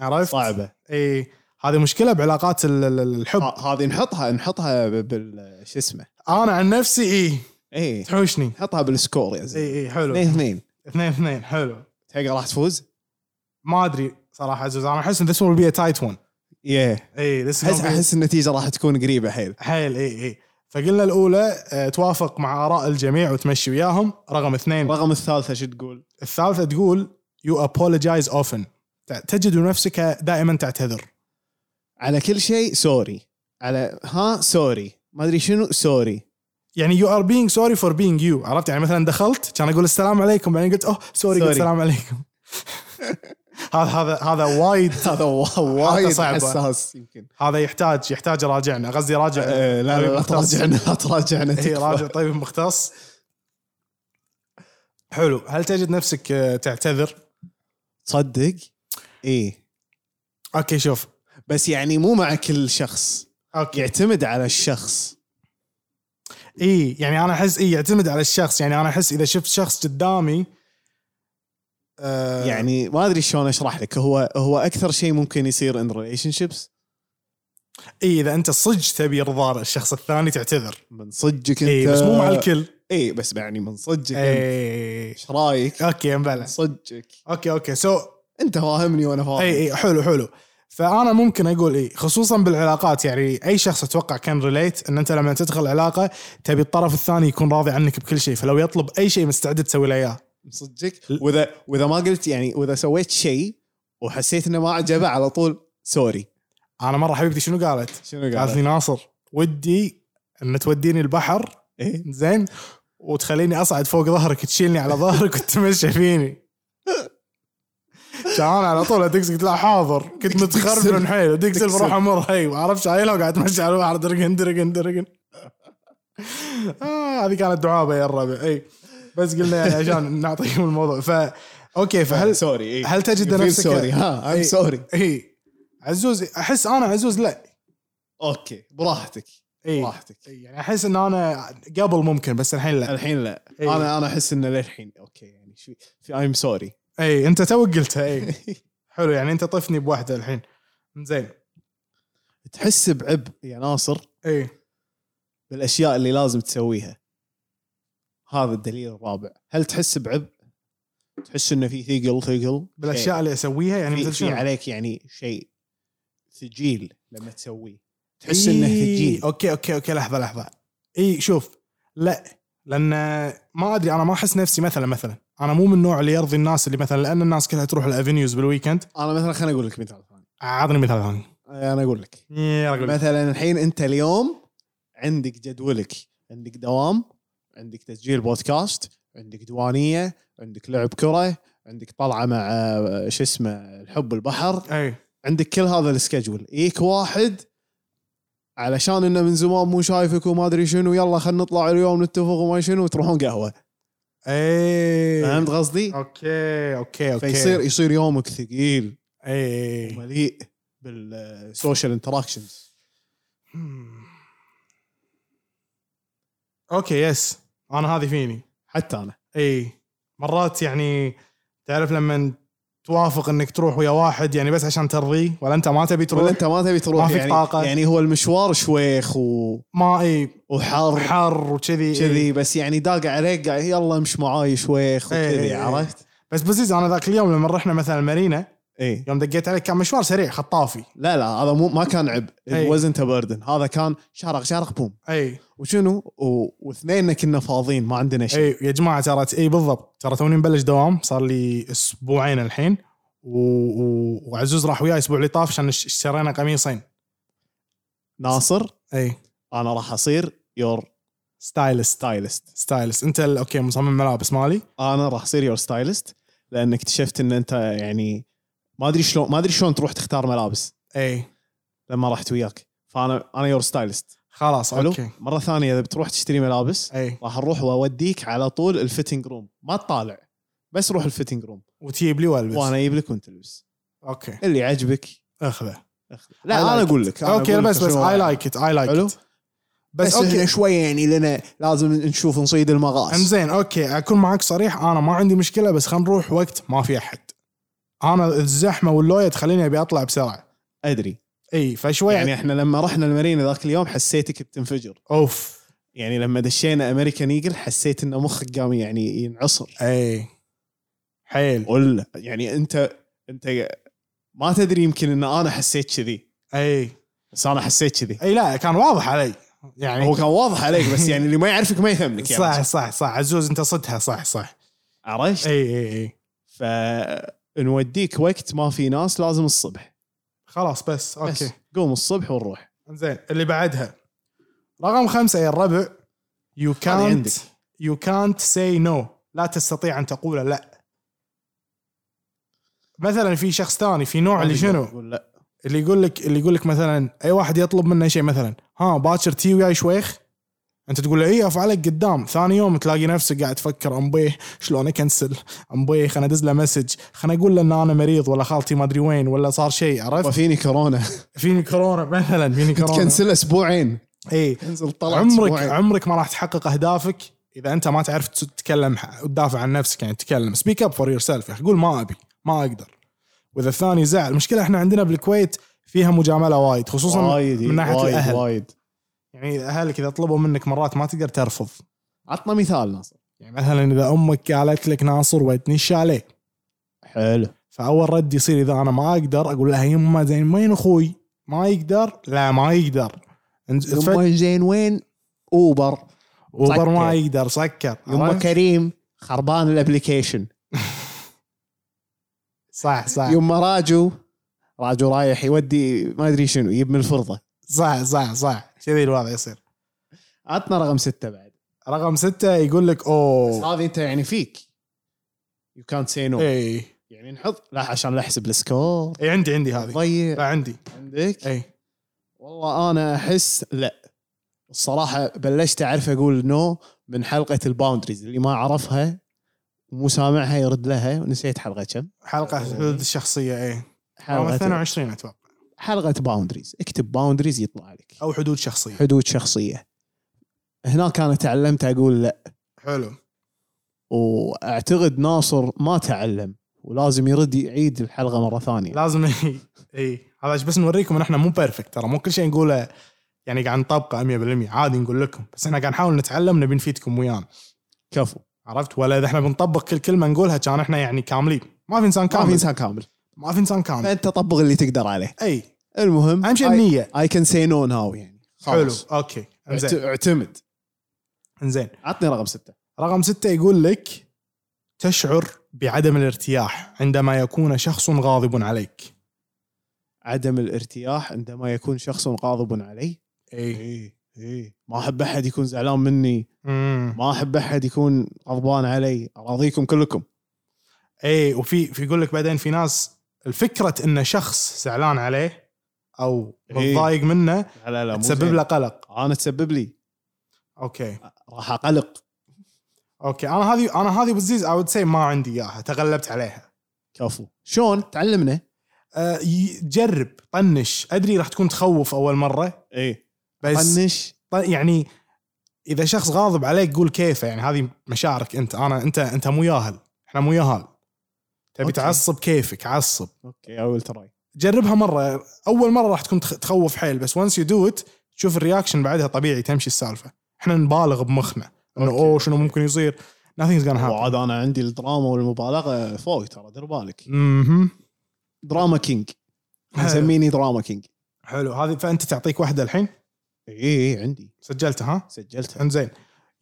[SPEAKER 3] عرفت؟
[SPEAKER 2] صعبه
[SPEAKER 3] اي هذه مشكله بعلاقات ال- ال- الحب
[SPEAKER 2] ه- هذه نحطها نحطها ب- بال شو اسمه
[SPEAKER 3] انا عن نفسي اي
[SPEAKER 2] اي
[SPEAKER 3] تحوشني
[SPEAKER 2] نحطها بالسكور يا زلمه
[SPEAKER 3] اي اي حلو
[SPEAKER 2] اثنين اثنين
[SPEAKER 3] اثنين اثنين حلو
[SPEAKER 2] تلقى راح تفوز؟
[SPEAKER 3] ما ادري صراحه عزوز انا احس ان ذس ويل بي تايت ون
[SPEAKER 2] ياه
[SPEAKER 3] اي ذس
[SPEAKER 2] احس احس النتيجه راح تكون قريبه حيل
[SPEAKER 3] حيل اي اي فقلنا الاولى آه، توافق مع اراء الجميع وتمشي وياهم رقم اثنين
[SPEAKER 2] الرقم الثالثه شو تقول؟
[SPEAKER 3] الثالثه تقول يو ابولوجايز اوفن تجد نفسك دائما تعتذر
[SPEAKER 2] على كل شيء سوري على ها سوري ما ادري شنو سوري
[SPEAKER 3] يعني يو ار بينج سوري فور بينج يو عرفت يعني مثلا دخلت كان اقول السلام عليكم بعدين قلت اوه سوري قلت
[SPEAKER 2] Sorry.
[SPEAKER 3] السلام عليكم (laughs) هذا هذا هذا وايد
[SPEAKER 2] (laughs) هذا وا- وايد
[SPEAKER 3] صعبة.
[SPEAKER 2] حساس يمكن
[SPEAKER 3] هذا يحتاج يحتاج راجعنا قصدي راجع
[SPEAKER 2] آه، لا لا لا
[SPEAKER 3] مختص.
[SPEAKER 2] تراجعنا (laughs) لا تراجعنا
[SPEAKER 3] إيه، راجع
[SPEAKER 2] تكفى.
[SPEAKER 3] طبيب مختص حلو هل تجد نفسك آه، تعتذر
[SPEAKER 2] تصدق؟ اي
[SPEAKER 3] اوكي شوف
[SPEAKER 2] إيه. بس يعني مو مع كل شخص
[SPEAKER 3] اوكي
[SPEAKER 2] يعتمد على الشخص
[SPEAKER 3] اي يعني انا احس اي يعتمد على الشخص يعني انا احس اذا شفت شخص قدامي آه،
[SPEAKER 2] يعني ما ادري شلون اشرح لك هو هو اكثر شيء ممكن يصير ان ريليشن شيبس
[SPEAKER 3] اي اذا انت إيه، صدق تبي رضا الشخص الثاني تعتذر
[SPEAKER 2] من صدقك انت
[SPEAKER 3] اي بس مو مع الكل
[SPEAKER 2] اي بس يعني من صدقك انت
[SPEAKER 3] اي
[SPEAKER 2] ايش رايك؟
[SPEAKER 3] اوكي
[SPEAKER 2] من
[SPEAKER 3] مبلى
[SPEAKER 2] صدقك
[SPEAKER 3] اوكي اوكي سو so,
[SPEAKER 2] انت فاهمني وانا فاهم
[SPEAKER 3] اي اي حلو حلو فانا ممكن اقول اي خصوصا بالعلاقات يعني اي شخص اتوقع كان ريليت ان انت لما تدخل علاقه تبي الطرف الثاني يكون راضي عنك بكل شيء فلو يطلب اي شيء مستعد تسوي له اياه
[SPEAKER 2] من صدقك واذا واذا ما قلت يعني واذا سويت شيء وحسيت انه ما عجبه على طول سوري
[SPEAKER 3] انا مره حبيبتي شنو قالت؟
[SPEAKER 2] شنو
[SPEAKER 3] قالت لي
[SPEAKER 2] قال؟
[SPEAKER 3] ناصر ودي ان توديني البحر
[SPEAKER 2] إيه؟
[SPEAKER 3] زين وتخليني اصعد فوق ظهرك تشيلني على ظهرك وتتمشى فيني كان على طول ادقس قلت لا حاضر كنت متخربن حيل ادقس
[SPEAKER 2] دقسل.
[SPEAKER 3] بروح امر هي وعرفت شايلها وقاعد اتمشى على البحر درقن درقن درقن آه هذه كانت دعابه يا الربع اي بس قلنا يعني عشان (laughs) نعطيهم الموضوع ف اوكي فهل
[SPEAKER 2] سوري إيه؟
[SPEAKER 3] هل تجد
[SPEAKER 2] You feel
[SPEAKER 3] نفسك
[SPEAKER 2] سوري ها ام
[SPEAKER 3] إيه.
[SPEAKER 2] سوري
[SPEAKER 3] اي عزوز احس انا عزوز لا
[SPEAKER 2] اوكي براحتك
[SPEAKER 3] اي
[SPEAKER 2] براحتك
[SPEAKER 3] يعني احس ان انا قبل ممكن بس الحين لا
[SPEAKER 2] الحين لا
[SPEAKER 3] إيه.
[SPEAKER 2] انا انا احس انه للحين اوكي يعني شو في ايم سوري
[SPEAKER 3] اي انت توك قلتها اي حلو يعني انت طفني بواحده الحين زين
[SPEAKER 2] (laughs) تحس بعبء يا ناصر
[SPEAKER 3] اي
[SPEAKER 2] بالاشياء اللي لازم تسويها هذا الدليل الرابع هل تحس بعبء تحس انه في ثقل ثقل
[SPEAKER 3] بالاشياء اللي اسويها يعني
[SPEAKER 2] يعني
[SPEAKER 3] مثل
[SPEAKER 2] في, في
[SPEAKER 3] شنو؟
[SPEAKER 2] عليك يعني شيء ثجيل لما تسويه تحس انه
[SPEAKER 3] إي،
[SPEAKER 2] ثجيل
[SPEAKER 3] اوكي اوكي اوكي لحظه لحظه اي إيه، شوف لا لان ما ادري انا ما احس نفسي مثلا مثلا انا مو من النوع اللي يرضي الناس اللي مثلا لان الناس كلها تروح الافنيوز بالويكند
[SPEAKER 2] انا مثلا خليني اقول لك مثال ثاني
[SPEAKER 3] اعطني مثال ثاني
[SPEAKER 2] انا اقول لك
[SPEAKER 3] يا رجل
[SPEAKER 2] مثلا الحين انت اليوم عندك جدولك عندك دوام عندك تسجيل بودكاست عندك ديوانيه عندك لعب كره عندك طلعه مع آه، شو اسمه الحب البحر
[SPEAKER 3] اي
[SPEAKER 2] عندك كل هذا السكجول يجيك واحد علشان انه من زمان مو شايفك وما ادري شنو يلا خلينا نطلع اليوم نتفق وما شنو وتروحون قهوه
[SPEAKER 3] اي
[SPEAKER 2] فهمت قصدي؟
[SPEAKER 3] اوكي اوكي اوكي
[SPEAKER 2] فيصير يصير يومك ثقيل
[SPEAKER 3] اي
[SPEAKER 2] ومليء بالسوشيال انتراكشنز
[SPEAKER 3] مم. اوكي يس انا هذه فيني
[SPEAKER 2] حتى انا
[SPEAKER 3] اي مرات يعني تعرف لما توافق انك تروح ويا واحد يعني بس عشان ترضيه ولا انت ما تبي
[SPEAKER 2] تقول
[SPEAKER 3] تروح
[SPEAKER 2] انت طيب، ما تبي تروح
[SPEAKER 3] ما فيك
[SPEAKER 2] يعني
[SPEAKER 3] طاقة.
[SPEAKER 2] يعني هو المشوار شويخ و...
[SPEAKER 3] ما اي
[SPEAKER 2] وحر
[SPEAKER 3] حر وكذي إي.
[SPEAKER 2] كذي بس يعني داق عليك قاعد يلا امش معاي شويخ
[SPEAKER 3] إيه، إيه،
[SPEAKER 2] وكذي
[SPEAKER 3] إيه.
[SPEAKER 2] عرفت؟
[SPEAKER 3] بس بزيز انا ذاك اليوم لما رحنا مثلا المارينا
[SPEAKER 2] اي
[SPEAKER 3] يوم دقيت عليك كان مشوار سريع خطافي
[SPEAKER 2] لا لا هذا مو ما كان عبء
[SPEAKER 3] إيه.
[SPEAKER 2] وزنت بردن هذا كان شرق شرق بوم
[SPEAKER 3] اي
[SPEAKER 2] وشنو و... واثنيننا كنا فاضيين ما عندنا شيء
[SPEAKER 3] اي يا جماعه ترى اي بالضبط ترى توني مبلش دوام صار لي اسبوعين الحين و... و... وعزوز راح وياي الاسبوع اللي طاف عشان اش- اشترينا قميصين
[SPEAKER 2] ناصر
[SPEAKER 3] اي
[SPEAKER 2] انا راح اصير يور
[SPEAKER 3] ستايلست
[SPEAKER 2] ستايلست
[SPEAKER 3] ستايلست انت ال- اوكي مصمم ملابس مالي
[SPEAKER 2] انا راح اصير يور ستايلست لان اكتشفت ان انت يعني ما ادري شلون ما ادري شلون تروح تختار ملابس
[SPEAKER 3] اي
[SPEAKER 2] لما رحت وياك فانا انا يور ستايلست
[SPEAKER 3] خلاص
[SPEAKER 2] حلو
[SPEAKER 3] اوكي
[SPEAKER 2] مره ثانيه اذا بتروح تشتري ملابس
[SPEAKER 3] اي
[SPEAKER 2] راح اروح واوديك على طول الفيتنج روم ما تطالع بس روح الفيتنج روم
[SPEAKER 3] وتجيب لي والبس
[SPEAKER 2] وانا اجيب لك وانت تلبس
[SPEAKER 3] اوكي
[SPEAKER 2] اللي عجبك
[SPEAKER 3] اخذه
[SPEAKER 2] اخذه لا
[SPEAKER 3] I
[SPEAKER 2] انا
[SPEAKER 3] like
[SPEAKER 2] اقول لك أنا
[SPEAKER 3] اوكي
[SPEAKER 2] أقول لك
[SPEAKER 3] بس بس
[SPEAKER 2] شنو
[SPEAKER 3] اي
[SPEAKER 2] رأيي.
[SPEAKER 3] لايك ات اي لايك
[SPEAKER 2] حلو؟
[SPEAKER 3] ات بس اوكي
[SPEAKER 2] شويه يعني لنا لازم نشوف نصيد المغاص
[SPEAKER 3] انزين اوكي اكون معك صريح انا ما عندي مشكله بس خلينا نروح وقت ما في احد انا الزحمه واللوية تخليني ابي اطلع بسرعه
[SPEAKER 2] ادري
[SPEAKER 3] اي فشوي
[SPEAKER 2] يعني
[SPEAKER 3] يعني
[SPEAKER 2] احنا لما رحنا المارينا ذاك اليوم حسيتك بتنفجر
[SPEAKER 3] اوف
[SPEAKER 2] يعني لما دشينا امريكان ايجل حسيت انه مخك قام يعني ينعصر
[SPEAKER 3] اي حيل
[SPEAKER 2] ولا يعني انت انت ما تدري يمكن ان انا حسيت كذي
[SPEAKER 3] اي
[SPEAKER 2] بس انا حسيت كذي
[SPEAKER 3] اي لا كان واضح علي يعني
[SPEAKER 2] هو كان واضح عليك بس يعني اللي ما يعرفك ما يهمك يعني
[SPEAKER 3] صح أيوه. صح صح عزوز انت صدها صح صح
[SPEAKER 2] عرفت؟
[SPEAKER 3] اي اي اي
[SPEAKER 2] فنوديك وقت ما في ناس لازم الصبح
[SPEAKER 3] خلاص بس
[SPEAKER 2] بس
[SPEAKER 3] اوكي
[SPEAKER 2] قوم الصبح ونروح
[SPEAKER 3] زين اللي بعدها رقم خمسة يا الربع يو كانت
[SPEAKER 2] عندك.
[SPEAKER 3] يو كانت سي نو لا تستطيع ان تقول لا مثلا في شخص ثاني في نوع اللي شنو
[SPEAKER 2] يقول لا
[SPEAKER 3] اللي يقول لك اللي يقول لك مثلا اي واحد يطلب منه شيء مثلا ها باكر تي وياي شويخ انت تقول له اي افعلك قدام ثاني يوم تلاقي نفسك قاعد تفكر امبيه شلون اكنسل امبيه خلنا ادز له مسج خلنا اقول له ان انا مريض ولا خالتي ما ادري وين ولا صار شيء عرفت
[SPEAKER 2] وفيني
[SPEAKER 3] (laughs)
[SPEAKER 2] كورونا
[SPEAKER 3] فيني (laughs) كورونا مثلا فيني كورونا
[SPEAKER 2] تكنسل اسبوعين
[SPEAKER 3] اي
[SPEAKER 2] كنسل طلعت
[SPEAKER 3] عمرك
[SPEAKER 2] أسبوعين.
[SPEAKER 3] عمرك ما راح تحقق اهدافك اذا انت ما تعرف تتكلم وتدافع عن نفسك يعني تتكلم سبيك اب فور يور سيلف يا اخي قول ما ابي ما اقدر واذا الثاني زعل المشكله احنا عندنا بالكويت فيها مجامله وايد خصوصا
[SPEAKER 2] وايد
[SPEAKER 3] من ناحيه
[SPEAKER 2] وايد
[SPEAKER 3] الاهل
[SPEAKER 2] وايد
[SPEAKER 3] يعني اهلك اذا طلبوا منك مرات ما تقدر ترفض
[SPEAKER 2] عطنا مثال ناصر
[SPEAKER 3] يعني مثلا اذا امك قالت لك ناصر ودني الشاليه
[SPEAKER 2] حلو
[SPEAKER 3] فاول رد يصير اذا انا ما اقدر اقول لها يما زين وين اخوي؟ ما يقدر؟ لا ما يقدر
[SPEAKER 2] يمه زين وين اوبر
[SPEAKER 3] اوبر ما
[SPEAKER 2] سكر.
[SPEAKER 3] يقدر سكر
[SPEAKER 2] يمه كريم خربان الابلكيشن
[SPEAKER 3] صح صح
[SPEAKER 2] يوم ما راجو راجو رايح يودي ما ادري شنو يجيب من الفرضه
[SPEAKER 3] صح صح صح كذي الوضع يصير
[SPEAKER 2] عطنا رقم ستة بعد
[SPEAKER 3] رقم ستة يقول لك
[SPEAKER 2] بس
[SPEAKER 3] اوه
[SPEAKER 2] هذه انت يعني فيك يو كانت سي نو
[SPEAKER 3] اي
[SPEAKER 2] يعني نحط لا عشان لا احسب السكور
[SPEAKER 3] اي إيه. عندي عندي هذه إيه.
[SPEAKER 2] ضيع
[SPEAKER 3] لا عندي
[SPEAKER 2] عندك
[SPEAKER 3] اي
[SPEAKER 2] والله انا احس لا الصراحه بلشت اعرف اقول نو من حلقه الباوندريز اللي ما عرفها ومو سامعها يرد لها ونسيت حلقه كم
[SPEAKER 3] حلقة حدود الشخصية اي رقم
[SPEAKER 2] حلقه
[SPEAKER 3] 22 اتوقع
[SPEAKER 2] حلقه باوندريز اكتب باوندريز يطلع لك
[SPEAKER 3] او حدود شخصية
[SPEAKER 2] حدود شخصيه هناك انا تعلمت اقول لا
[SPEAKER 3] حلو
[SPEAKER 2] واعتقد ناصر ما تعلم ولازم يرد يعيد الحلقه مره ثانيه
[SPEAKER 3] لازم (laughs) اي هذا بس نوريكم ان احنا مو بيرفكت ترى مو كل شيء نقوله يعني قاعد نطبقه 100% عادي نقول لكم بس احنا قاعد نحاول نتعلم نبي نفيدكم ويانا
[SPEAKER 2] كفو
[SPEAKER 3] عرفت ولا اذا احنا بنطبق كل كلمه نقولها كان احنا يعني كاملين ما في انسان
[SPEAKER 2] كامل
[SPEAKER 3] كامل
[SPEAKER 2] انسان كامل
[SPEAKER 3] ما في انسان كامل
[SPEAKER 2] فانت طبق اللي تقدر عليه
[SPEAKER 3] اي
[SPEAKER 2] المهم
[SPEAKER 3] اهم شيء النيه
[SPEAKER 2] اي كان سي نو ناو يعني
[SPEAKER 3] حلو
[SPEAKER 2] خلاص.
[SPEAKER 3] اوكي
[SPEAKER 2] اعت-
[SPEAKER 3] انزين
[SPEAKER 2] اعتمد
[SPEAKER 3] انزين
[SPEAKER 2] عطني رقم ستة
[SPEAKER 3] رقم ستة يقول لك تشعر بعدم الارتياح عندما يكون شخص غاضب عليك
[SPEAKER 2] عدم الارتياح عندما يكون شخص غاضب علي
[SPEAKER 3] اي
[SPEAKER 2] اي اي ما احب احد يكون زعلان مني ما احب احد يكون غضبان علي اراضيكم كلكم
[SPEAKER 3] اي إيه، وفي في يقول لك بعدين في ناس الفكرة ان شخص زعلان عليه او
[SPEAKER 2] إي.
[SPEAKER 3] متضايق منه
[SPEAKER 2] لا لا
[SPEAKER 3] تسبب له قلق
[SPEAKER 2] انا تسبب لي
[SPEAKER 3] اوكي
[SPEAKER 2] راح اقلق
[SPEAKER 3] اوكي انا هذه انا هذه بتزيز اي وود سي ما عندي اياها تغلبت عليها
[SPEAKER 2] كفو شلون تعلمنا
[SPEAKER 3] أه ي- جرب طنش ادري راح تكون تخوف اول مره
[SPEAKER 2] اي
[SPEAKER 3] بس
[SPEAKER 2] طنش
[SPEAKER 3] ط- يعني اذا شخص غاضب عليك قول كيفه يعني هذه مشاعرك انت انا انت انت مو ياهل احنا مو ياهل تبي
[SPEAKER 2] أوكي.
[SPEAKER 3] تعصب كيفك عصب
[SPEAKER 2] اوكي اول تراي
[SPEAKER 3] جربها مره اول مره راح تكون تخ- تخوف حيل بس وانس يو دو ات تشوف الرياكشن بعدها طبيعي تمشي السالفه احنا نبالغ بمخنا انه
[SPEAKER 2] أوكي.
[SPEAKER 3] اوه شنو ممكن يصير nothing's gonna happen
[SPEAKER 2] وعاد انا عندي الدراما والمبالغه فوق ترى دير بالك
[SPEAKER 3] مهم.
[SPEAKER 2] دراما كينج
[SPEAKER 3] حلو.
[SPEAKER 2] مسميني دراما كينج
[SPEAKER 3] حلو هذه فانت تعطيك واحده الحين
[SPEAKER 2] اي اي عندي
[SPEAKER 3] سجلتها ها
[SPEAKER 2] سجلتها
[SPEAKER 3] انزين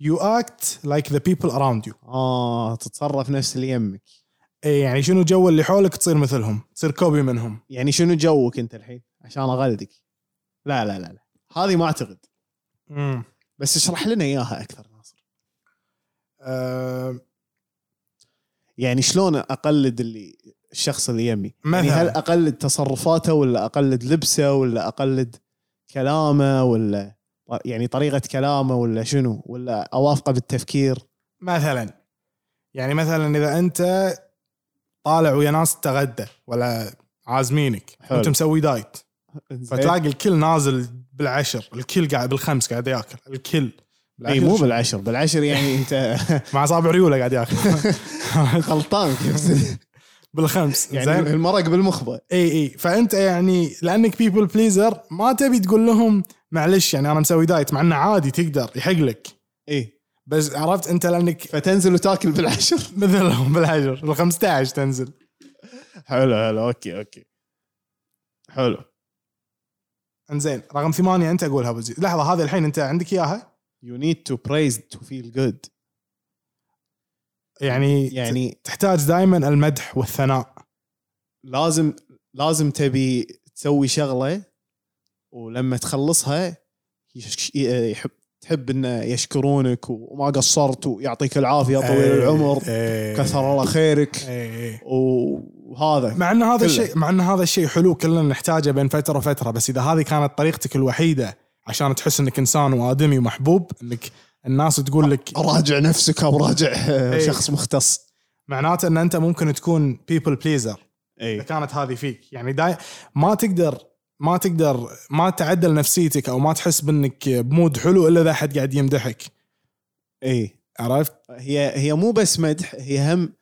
[SPEAKER 3] you act like the people around you
[SPEAKER 2] اه تتصرف نفس اللي يمك
[SPEAKER 3] إيه يعني شنو جو اللي حولك تصير مثلهم تصير كوبي منهم
[SPEAKER 2] يعني شنو جوك انت الحين عشان اغلدك لا لا لا لا هذه ما اعتقد
[SPEAKER 3] امم
[SPEAKER 2] بس اشرح لنا اياها اكثر ناصر
[SPEAKER 3] أه
[SPEAKER 2] يعني شلون اقلد اللي الشخص اللي يمي يعني
[SPEAKER 3] مثلاً.
[SPEAKER 2] هل اقلد تصرفاته ولا اقلد لبسه ولا اقلد كلامه ولا يعني طريقه كلامه ولا شنو ولا اوافقه بالتفكير
[SPEAKER 3] مثلا يعني مثلا اذا انت طالع ويا ناس تتغدى ولا عازمينك
[SPEAKER 2] حلو. إيه.
[SPEAKER 3] وانت مسوي دايت
[SPEAKER 2] فتلاقي
[SPEAKER 3] فتلاقي الكل نازل بالعشر الكل قاعد بالخمس قاعد ياكل الكل
[SPEAKER 2] اي إيه، مو بالعشر بالعشر يعني (laughs) انت
[SPEAKER 3] مع اصابع ريوله
[SPEAKER 2] (laughs)
[SPEAKER 3] قاعد ياكل
[SPEAKER 2] غلطان
[SPEAKER 3] بالخمس
[SPEAKER 2] يعني
[SPEAKER 3] زين
[SPEAKER 2] المرق بالمخبه
[SPEAKER 3] اي اي فانت يعني لانك بيبل بليزر ما تبي تقول لهم معلش يعني انا مسوي دايت مع انه عادي تقدر يحق لك
[SPEAKER 2] اي
[SPEAKER 3] بس عرفت انت لانك
[SPEAKER 2] فتنزل وتاكل بالعشر
[SPEAKER 3] (laughs) مثلهم بالعشر بال 15 تنزل
[SPEAKER 2] حلو حلو اوكي اوكي حلو
[SPEAKER 3] انزين رقم ثمانية انت قولها ابو زيد لحظة هذه الحين انت عندك اياها
[SPEAKER 2] يو نيد تو برايز تو فيل جود
[SPEAKER 3] يعني
[SPEAKER 2] يعني
[SPEAKER 3] تحتاج دائما المدح والثناء
[SPEAKER 2] لازم لازم تبي تسوي شغله ولما تخلصها يش- يحب تحب انه يشكرونك وما قصرت ويعطيك العافيه
[SPEAKER 3] إيه،
[SPEAKER 2] طويل
[SPEAKER 3] آه،
[SPEAKER 2] العمر كثر الله خيرك
[SPEAKER 3] اي
[SPEAKER 2] وهذا
[SPEAKER 3] إيه، مع ان هذا
[SPEAKER 2] كله.
[SPEAKER 3] الشيء مع ان هذا الشيء حلو كلنا نحتاجه بين فترة وفترة بس اذا هذه كانت طريقتك الوحيدة عشان تحس انك انسان وادمي ومحبوب انك الناس تقول لك
[SPEAKER 2] راجع نفسك او راجع آه،
[SPEAKER 3] إي.
[SPEAKER 2] شخص مختص
[SPEAKER 3] معناته ان انت ممكن تكون بيبل بليزر اذا
[SPEAKER 2] اي
[SPEAKER 3] كانت هذه فيك يعني داي ما تقدر ما تقدر ما تعدل نفسيتك او ما تحس بانك بمود حلو الا اذا احد قاعد يمدحك
[SPEAKER 2] اي
[SPEAKER 3] عرفت؟
[SPEAKER 2] هي هي مو بس مدح هي هم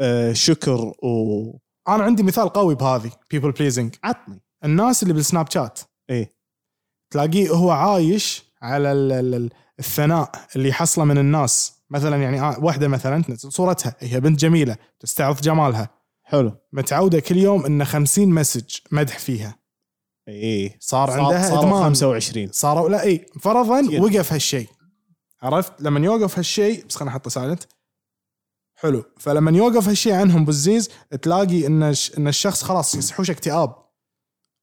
[SPEAKER 2] آه، شكر و
[SPEAKER 3] انا عندي مثال قوي بهذه بيبل بليزنج
[SPEAKER 2] عطني
[SPEAKER 3] الناس اللي بالسناب شات
[SPEAKER 2] اي
[SPEAKER 3] تلاقيه هو عايش على ال- ال- ال- الثناء اللي حصله من الناس مثلا يعني آه، واحده مثلا تنزل صورتها هي بنت جميله تستعرض جمالها
[SPEAKER 2] حلو
[SPEAKER 3] متعوده كل يوم ان 50 مسج مدح فيها
[SPEAKER 2] اي
[SPEAKER 3] صار, عندها
[SPEAKER 2] إيه. صار
[SPEAKER 3] ادمان
[SPEAKER 2] 25
[SPEAKER 3] صاروا لا اي فرضا
[SPEAKER 2] كثير.
[SPEAKER 3] وقف هالشيء عرفت لما يوقف هالشيء بس خليني احطه سايلنت حلو فلما يوقف هالشيء عنهم بالزيز تلاقي ان الش- ان الشخص خلاص يسحوش اكتئاب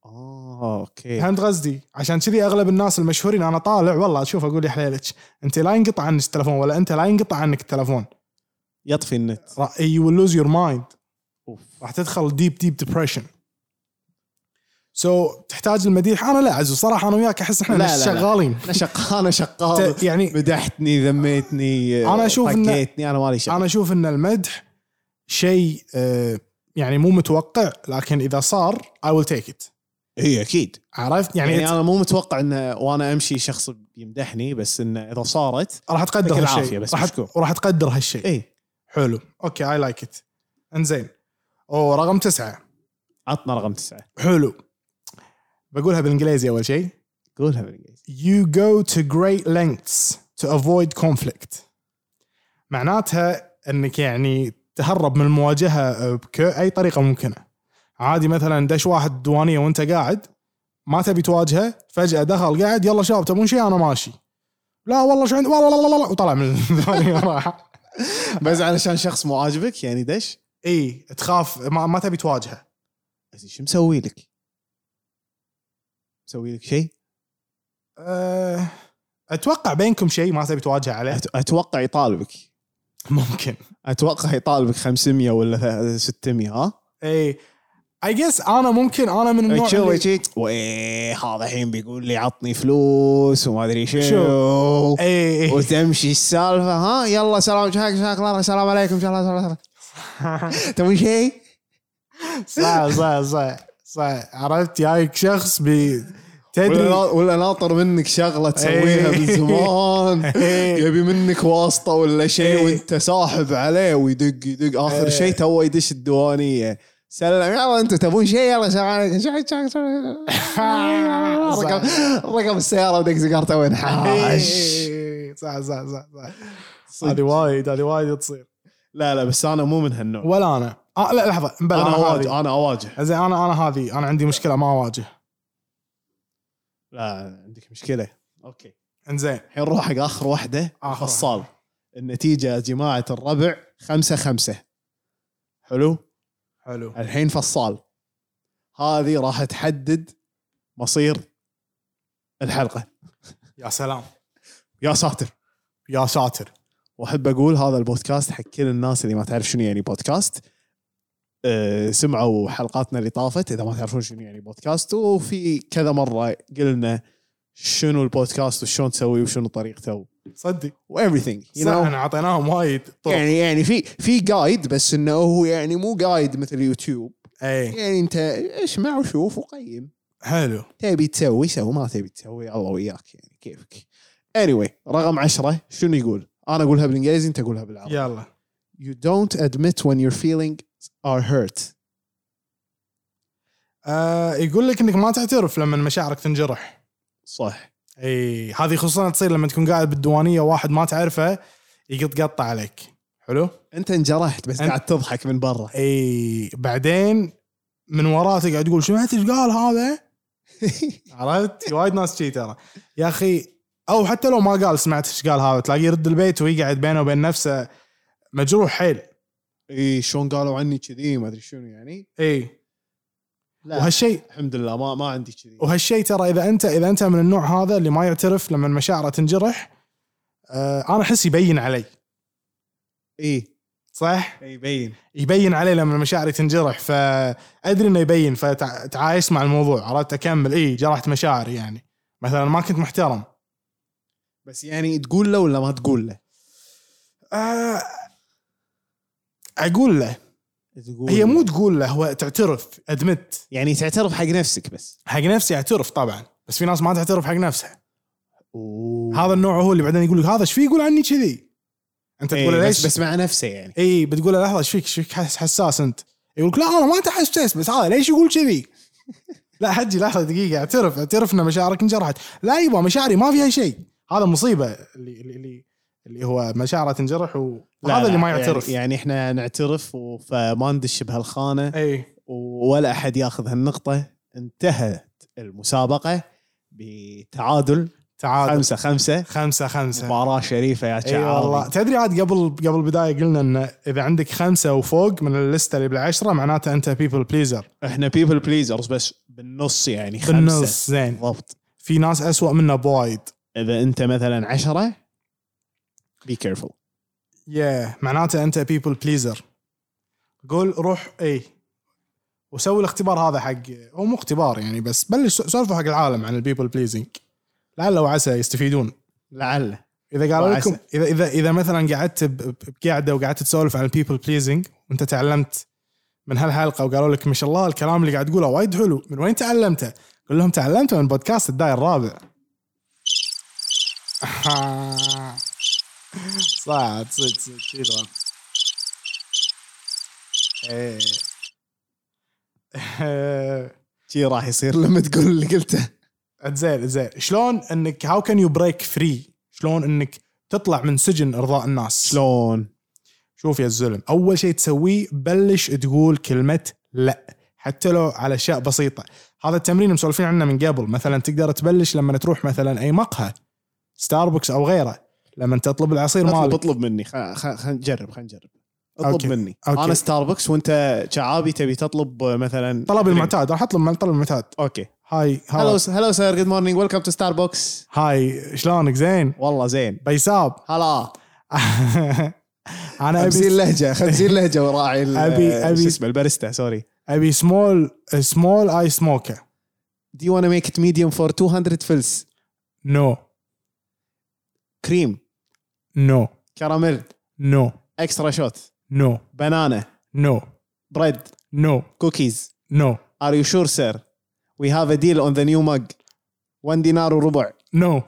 [SPEAKER 2] اه اوكي
[SPEAKER 3] فهمت قصدي عشان كذي اغلب الناس المشهورين انا طالع والله اشوف اقول يا حليلك انت لا ينقطع عنك التلفون ولا انت لا ينقطع عنك التلفون
[SPEAKER 2] يطفي النت
[SPEAKER 3] يو ويل لوز يور مايند
[SPEAKER 2] اوف
[SPEAKER 3] راح تدخل ديب ديب ديبرشن سو تحتاج المديح انا لا عزو صراحه انا وياك احس احنا
[SPEAKER 2] لا، لا، لا.
[SPEAKER 3] شغالين
[SPEAKER 2] انا شقال انا شقال
[SPEAKER 3] ت- يعني
[SPEAKER 2] مدحتني ذميتني
[SPEAKER 3] أنا أشوف إن-
[SPEAKER 2] طقيتني انا مالي شغل
[SPEAKER 3] انا اشوف ان المدح شيء آه، يعني مو متوقع لكن اذا صار اي ويل تيك ات
[SPEAKER 2] اي اكيد
[SPEAKER 3] عرفت يعني,
[SPEAKER 2] يعني,
[SPEAKER 3] يعني
[SPEAKER 2] انا مو متوقع انه وانا امشي شخص بيمدحني بس انه اذا صارت
[SPEAKER 3] راح تقدر
[SPEAKER 2] يعطيك
[SPEAKER 3] هالشيء
[SPEAKER 2] العافية بس إيه.
[SPEAKER 3] راح
[SPEAKER 2] مشكور.
[SPEAKER 3] وراح تقدر هالشيء
[SPEAKER 2] اي
[SPEAKER 3] حلو اوكي اي لايك ات انزين او رقم تسعه
[SPEAKER 2] عطنا رقم تسعه
[SPEAKER 3] حلو بقولها بالانجليزي اول شيء
[SPEAKER 2] قولها بالانجليزي
[SPEAKER 3] you go to great lengths to avoid conflict معناتها انك يعني تهرب من المواجهه باي طريقه ممكنه عادي مثلا دش واحد دوانيه وانت قاعد ما تبي تواجهه فجاه دخل قاعد يلا شباب تبون شيء انا ماشي لا والله شو عندي والله لا لا لا وطلع من الدوانيه (laughs) وراح
[SPEAKER 2] بس علشان شخص مو عاجبك يعني دش
[SPEAKER 3] اي تخاف ما, ما تبي تواجهه
[SPEAKER 2] زين شو مسوي لك؟ مسوي لك شيء؟
[SPEAKER 3] أه اتوقع بينكم شيء ما تبي تواجهه عليه
[SPEAKER 2] أت- اتوقع يطالبك
[SPEAKER 3] ممكن
[SPEAKER 2] اتوقع يطالبك 500 ولا 600 ها؟
[SPEAKER 3] اي اي جس انا ممكن انا من النوع
[SPEAKER 2] تشوف
[SPEAKER 3] اللي-
[SPEAKER 2] هيك وإيه، هذا الحين بيقول لي عطني فلوس وما ادري شو
[SPEAKER 3] اي
[SPEAKER 2] إيه.
[SPEAKER 3] اي
[SPEAKER 2] وتمشي السالفه ها يلا سلام شاك شاك الله السلام عليكم ان شاء الله سلام سلام. تبون شيء؟
[SPEAKER 3] (laughs) صح صح صح صح عرفت جايك شخص بي تدري
[SPEAKER 2] ولا ناطر منك شغله
[SPEAKER 3] إيه.
[SPEAKER 2] (laughs) زمان
[SPEAKER 3] إيه.
[SPEAKER 2] يبي منك واسطه ولا شيء
[SPEAKER 3] إيه.
[SPEAKER 2] وانت ساحب عليه ويدق يدق اخر
[SPEAKER 3] إيه.
[SPEAKER 2] شيء تو يدش الديوانيه سلام يلا انتم تبون شيء يلا سلام عليكم شاك شاك شاك. رقم رقم السياره ودق سيجارته وين
[SPEAKER 3] إي،
[SPEAKER 2] حاش
[SPEAKER 3] إي، صح صح صح صح
[SPEAKER 2] صدق.
[SPEAKER 3] هذه وايد هذه وايد تصير
[SPEAKER 2] لا لا بس انا مو من هالنوع
[SPEAKER 3] ولا انا آه لا لحظه بلا
[SPEAKER 2] انا
[SPEAKER 3] انا هذه
[SPEAKER 2] اواجه انا اواجه
[SPEAKER 3] زين انا انا هذه انا عندي مشكله ما اواجه
[SPEAKER 2] لا عندك مشكله اوكي
[SPEAKER 3] انزين
[SPEAKER 2] الحين نروح حق اخر واحده
[SPEAKER 3] آخر
[SPEAKER 2] فصال النتيجه يا جماعه الربع خمسة خمسة حلو
[SPEAKER 3] حلو
[SPEAKER 2] الحين فصال هذه راح تحدد مصير الحلقه
[SPEAKER 3] يا سلام
[SPEAKER 2] يا ساتر
[SPEAKER 3] يا ساتر
[SPEAKER 2] واحب اقول هذا البودكاست حق كل الناس اللي ما تعرف شنو يعني بودكاست أه، سمعوا حلقاتنا اللي طافت اذا ما تعرفون شنو يعني بودكاست وفي كذا مره قلنا شنو البودكاست وشلون تسويه وشنو طريقته
[SPEAKER 3] صدق
[SPEAKER 2] وايفريثينج
[SPEAKER 3] صح احنا اعطيناهم وايد طرق
[SPEAKER 2] يعني يعني في في جايد بس انه هو يعني مو جايد مثل يوتيوب
[SPEAKER 3] اي
[SPEAKER 2] يعني انت اسمع وشوف وقيم
[SPEAKER 3] حلو
[SPEAKER 2] تبي تسوي سوي ما تبي تسوي الله وياك يعني كيفك anyway رقم عشرة شنو يقول انا اقولها بالانجليزي انت قولها بالعربي
[SPEAKER 3] يلا
[SPEAKER 2] you don't admit when your feelings are hurt
[SPEAKER 3] آه يقول لك انك ما تعترف لما مشاعرك تنجرح
[SPEAKER 2] صح
[SPEAKER 3] اي هذه خصوصا تصير لما تكون قاعد بالديوانيه واحد ما تعرفه يقطقط عليك حلو
[SPEAKER 2] انت انجرحت بس
[SPEAKER 3] أنت-
[SPEAKER 2] قاعد تضحك من برا
[SPEAKER 3] اي بعدين من وراه تقعد تقول شو ايش قال هذا عرفت وايد ناس شي ترى يا اخي او حتى لو ما قال سمعت ايش قال هذا تلاقيه يرد البيت ويقعد بينه وبين نفسه مجروح حيل
[SPEAKER 2] اي شلون قالوا عني كذي ما ادري شنو يعني
[SPEAKER 3] اي
[SPEAKER 2] لا
[SPEAKER 3] وهالشيء
[SPEAKER 2] الحمد لله ما ما عندي كذي
[SPEAKER 3] وهالشيء ترى اذا انت اذا انت من النوع هذا اللي ما يعترف لما مشاعره تنجرح آه انا احس يبين علي
[SPEAKER 2] اي
[SPEAKER 3] صح؟
[SPEAKER 2] يبين
[SPEAKER 3] يبين عليه لما مشاعري تنجرح فادري انه يبين فتعايش مع الموضوع عرفت اكمل اي جرحت مشاعري يعني مثلا ما كنت محترم
[SPEAKER 2] بس يعني تقول له ولا ما تقول له
[SPEAKER 3] آه، اقول له
[SPEAKER 2] تقول
[SPEAKER 3] هي مو تقول له هو تعترف ادمت
[SPEAKER 2] يعني تعترف حق نفسك بس
[SPEAKER 3] حق نفسي اعترف طبعا بس في ناس ما تعترف حق نفسها
[SPEAKER 2] أوه.
[SPEAKER 3] هذا النوع هو اللي بعدين يقول لك هذا ايش في يقول عني كذي انت تقول له
[SPEAKER 2] إيه
[SPEAKER 3] ليش
[SPEAKER 2] بس, بس مع نفسه يعني
[SPEAKER 3] اي بتقول له لحظه ايش فيك ايش فيك حس- حساس انت؟ يقول لك لا انا ما تحسس بس هذا ليش يقول كذي؟ (laughs) لا حجي لحظه دقيقه اعترف اعترف ان مشاعرك انجرحت، لا يبا مشاعري ما فيها شيء، هذا مصيبه اللي اللي اللي, اللي هو مشاعره تنجرح
[SPEAKER 2] لا،
[SPEAKER 3] وهذا
[SPEAKER 2] لا،
[SPEAKER 3] اللي ما يعترف
[SPEAKER 2] يعني, يعني
[SPEAKER 3] يعني
[SPEAKER 2] احنا نعترف و- فما ندش بهالخانه
[SPEAKER 3] اي
[SPEAKER 2] ولا احد ياخذ هالنقطه انتهت المسابقه بتعادل
[SPEAKER 3] تعادل
[SPEAKER 2] خمسه خمسه
[SPEAKER 3] خمسة خمسة
[SPEAKER 2] مباراه شريفه يا
[SPEAKER 3] اي والله
[SPEAKER 2] شعار
[SPEAKER 3] تدري عاد قبل قبل البدايه قلنا ان اذا عندك خمسه وفوق من اللسته اللي بالعشره معناته انت بيبل بليزر
[SPEAKER 2] احنا بيبل بليزرز بس بالنص يعني خمسه
[SPEAKER 3] بالنص زين
[SPEAKER 2] بالضبط
[SPEAKER 3] في ناس أسوأ منا بوايد
[SPEAKER 2] اذا انت مثلا عشرة بي كيرفul
[SPEAKER 3] يا معناته انت بيبل بليزر قول روح اي وسوي الاختبار هذا حق هو مو اختبار يعني بس بلش سولفوا حق العالم عن البيبل بليزنج لعل وعسى يستفيدون
[SPEAKER 2] لعله
[SPEAKER 3] اذا قالوا
[SPEAKER 2] وعسى.
[SPEAKER 3] لكم اذا اذا اذا مثلا قعدت ب- ب- بقعده وقعدت تسولف عن البيبل بليزنج وانت تعلمت من هالحلقه وقالوا لك ما شاء الله الكلام اللي قاعد تقوله وايد حلو من وين تعلمته؟ قول لهم تعلمته من بودكاست الداير الرابع. (laughs) صعد صدق صدق شيل إيه. ايه
[SPEAKER 2] شي راح يصير لما تقول اللي قلته
[SPEAKER 3] (laughs) زين زين شلون انك هاو كان يو بريك فري شلون انك تطلع من سجن ارضاء الناس
[SPEAKER 2] شلون
[SPEAKER 3] شوف يا الزلم اول شيء تسويه بلش تقول كلمه لا حتى لو على اشياء بسيطه هذا التمرين مسولفين عنه من قبل مثلا تقدر تبلش لما تروح مثلا اي مقهى ستاربكس او غيره لما تطلب العصير
[SPEAKER 2] اطلب
[SPEAKER 3] مالك
[SPEAKER 2] اطلب مني خل خل خل نجرب خل نجرب اطلب
[SPEAKER 3] أوكي.
[SPEAKER 2] مني
[SPEAKER 3] أوكي.
[SPEAKER 2] انا ستاربكس وانت شعابي تبي تطلب مثلا
[SPEAKER 3] طلب المعتاد راح اطلب من الطلب المعتاد
[SPEAKER 2] اوكي
[SPEAKER 3] هاي
[SPEAKER 2] هلو
[SPEAKER 3] هاي,
[SPEAKER 2] هلو سير جود مورنينج ويلكم تو ستاربكس
[SPEAKER 3] هاي شلونك زين
[SPEAKER 2] والله زين
[SPEAKER 3] بيساب (laughs)
[SPEAKER 2] هلا 50
[SPEAKER 3] انا ابي
[SPEAKER 2] لهجه 50 لهجه وراعي ال-
[SPEAKER 3] أبي- أبي-
[SPEAKER 2] شو اسمه الباريستا سوري
[SPEAKER 3] ابي سمول سمول اي سموكر
[SPEAKER 2] Do you want to make it medium for 200 فلس
[SPEAKER 3] نو
[SPEAKER 2] كريم
[SPEAKER 3] نو
[SPEAKER 2] كراميل
[SPEAKER 3] نو
[SPEAKER 2] اكسترا شوت
[SPEAKER 3] نو
[SPEAKER 2] بنانا
[SPEAKER 3] نو
[SPEAKER 2] بريد
[SPEAKER 3] نو
[SPEAKER 2] كوكيز
[SPEAKER 3] نو
[SPEAKER 2] ار يو شور سير وي هاف ا ديل اون ذا نيو مج 1 دينار وربع
[SPEAKER 3] نو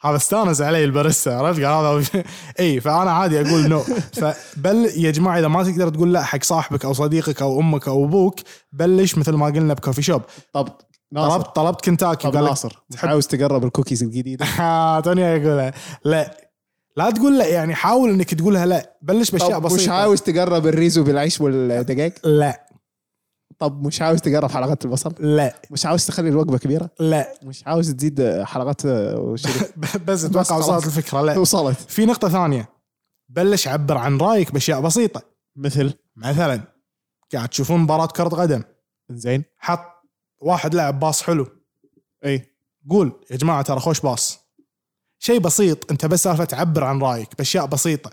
[SPEAKER 3] هذا استانس علي الباريستا عرفت قال (laughs) هذا اي فانا عادي اقول
[SPEAKER 2] (laughs)
[SPEAKER 3] نو فبل يا جماعه اذا ما تقدر تقول لا حق صاحبك او صديقك او امك او ابوك بلش مثل ما قلنا بكوفي شوب
[SPEAKER 2] طب ناصر
[SPEAKER 3] طلبت طلبت كنتاكي
[SPEAKER 2] طب
[SPEAKER 3] قال لك
[SPEAKER 2] ناصر عاوز تقرب الكوكيز الجديده
[SPEAKER 3] (laughs) ها، توني اقولها لا لا تقول لا يعني حاول انك تقولها لا بلش باشياء
[SPEAKER 2] طب مش
[SPEAKER 3] بسيطه
[SPEAKER 2] عاوز تقرب الريزو بالعيش والدجاج
[SPEAKER 3] لا
[SPEAKER 2] طب مش عاوز تقرب حلقات البصل
[SPEAKER 3] لا
[SPEAKER 2] مش عاوز تخلي الوجبه كبيره
[SPEAKER 3] لا
[SPEAKER 2] مش عاوز تزيد حلقات آه، (laughs) وشري.
[SPEAKER 3] بس اتوقع
[SPEAKER 2] خلاص.
[SPEAKER 3] وصلت الفكره لا
[SPEAKER 2] وصلت
[SPEAKER 3] في نقطه ثانيه بلش عبر عن رايك باشياء بسيطه
[SPEAKER 2] مثل
[SPEAKER 3] مثلا قاعد تشوفون مباراه كره قدم
[SPEAKER 2] زين
[SPEAKER 3] حط واحد لعب باص حلو
[SPEAKER 2] اي
[SPEAKER 3] قول يا جماعه ترى خوش باص شيء بسيط انت بس سالفه تعبر عن رايك باشياء بسيطه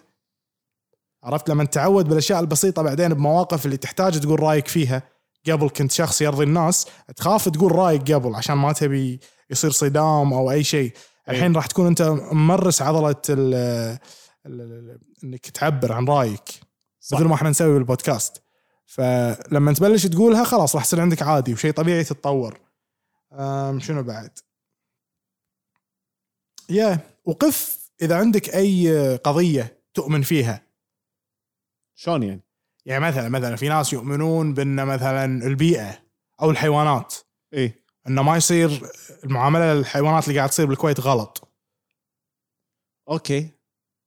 [SPEAKER 3] عرفت لما تعود بالاشياء البسيطه بعدين بمواقف اللي تحتاج تقول رايك فيها قبل كنت شخص يرضي الناس تخاف تقول رايك قبل عشان ما تبي يصير صدام او اي شيء الحين راح تكون انت ممرس عضله ال ال- ال- انك تعبر عن رايك
[SPEAKER 2] صح.
[SPEAKER 3] مثل ما احنا نسوي بالبودكاست فلما تبلش تقولها خلاص راح يصير عندك عادي وشيء طبيعي تتطور أم، شنو بعد يا وقف اذا عندك اي قضيه تؤمن فيها
[SPEAKER 2] شلون يعني
[SPEAKER 3] يعني مثلا مثلا في ناس يؤمنون بان مثلا البيئه او الحيوانات
[SPEAKER 2] اي
[SPEAKER 3] انه ما يصير المعامله للحيوانات اللي قاعد تصير بالكويت غلط
[SPEAKER 2] اوكي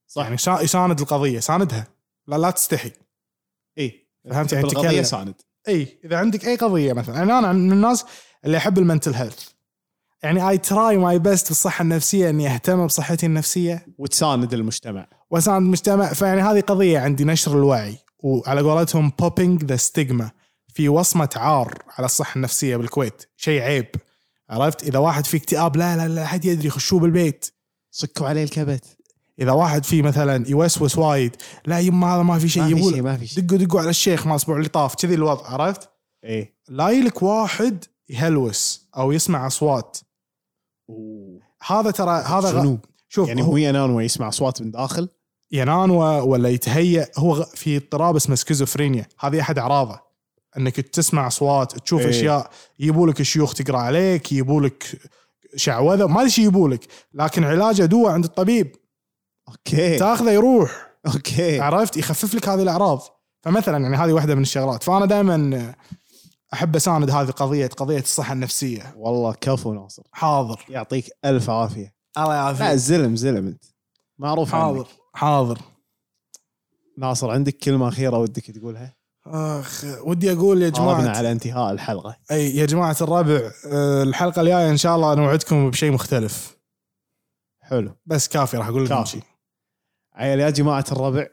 [SPEAKER 3] صح يعني شا- يساند القضيه ساندها لا لا تستحي
[SPEAKER 2] اي
[SPEAKER 3] فهمت يعني
[SPEAKER 2] بالقضية
[SPEAKER 3] تتكلم.
[SPEAKER 2] ساند
[SPEAKER 3] اي اذا عندك اي قضيه مثلا يعني انا من الناس اللي احب المنتل هيلث يعني اي تراي ماي بيست بالصحه النفسيه اني اهتم بصحتي النفسيه
[SPEAKER 2] وتساند المجتمع
[SPEAKER 3] واساند المجتمع فيعني هذه قضيه عندي نشر الوعي وعلى قولتهم بوبينج ذا ستيغما في وصمه عار على الصحه النفسيه بالكويت شيء عيب عرفت اذا واحد في اكتئاب لا لا لا حد يدري خشوه بالبيت
[SPEAKER 2] سكوا عليه الكبت
[SPEAKER 3] اذا واحد في مثلا يوسوس وايد لا يما هذا ما في شيء
[SPEAKER 2] ما في شيء
[SPEAKER 3] يقول
[SPEAKER 2] ما في شيء
[SPEAKER 3] دقوا دقوا على الشيخ ما الاسبوع اللي طاف كذي الوضع عرفت
[SPEAKER 2] اي
[SPEAKER 3] لا يلك واحد يهلوس او يسمع اصوات هذا ترى هذا غ-
[SPEAKER 2] شنو
[SPEAKER 3] شوف
[SPEAKER 2] يعني هو ينام ويسمع اصوات من داخل
[SPEAKER 3] ينانوى ولا يتهيأ هو غ- في اضطراب اسمه سكيزوفرينيا هذه احد اعراضه انك تسمع اصوات تشوف
[SPEAKER 2] إيه.
[SPEAKER 3] ايه. اشياء يبولك شيوخ تقرا عليك يبولك شعوذه ما ادري شو يبولك لكن علاجه دواء عند الطبيب
[SPEAKER 2] اوكي
[SPEAKER 3] تاخذه يروح
[SPEAKER 2] اوكي
[SPEAKER 3] عرفت يخفف لك هذه الاعراض فمثلا يعني هذه واحده من الشغلات فانا دائما احب اساند هذه القضيه قضيه الصحه النفسيه
[SPEAKER 2] والله كفو ناصر
[SPEAKER 3] حاضر
[SPEAKER 2] يعطيك الف عافيه
[SPEAKER 3] الله
[SPEAKER 2] لا
[SPEAKER 3] يعافيك
[SPEAKER 2] زلم زلم انت معروف عنك
[SPEAKER 3] حاضر حاضر
[SPEAKER 2] ناصر عندك كلمه اخيره ودك تقولها
[SPEAKER 3] اخ ودي اقول يا
[SPEAKER 2] جمعنا
[SPEAKER 3] جماعه
[SPEAKER 2] على انتهاء الحلقه
[SPEAKER 3] اي يا جماعه الربع آه، الحلقه الجايه ان شاء الله نوعدكم بشيء مختلف
[SPEAKER 2] حلو
[SPEAKER 3] بس كافي راح اقول لك
[SPEAKER 2] كافي.
[SPEAKER 3] شيء
[SPEAKER 2] عيل يا جماعه الربع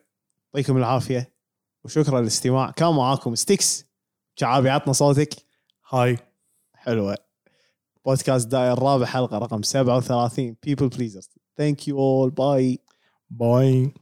[SPEAKER 2] يعطيكم العافيه وشكرا للاستماع كان معاكم ستيكس شعابي عطنا صوتك
[SPEAKER 3] هاي
[SPEAKER 2] حلوه بودكاست داير الرابع حلقه رقم 37 people pleasers thank you all bye
[SPEAKER 3] باي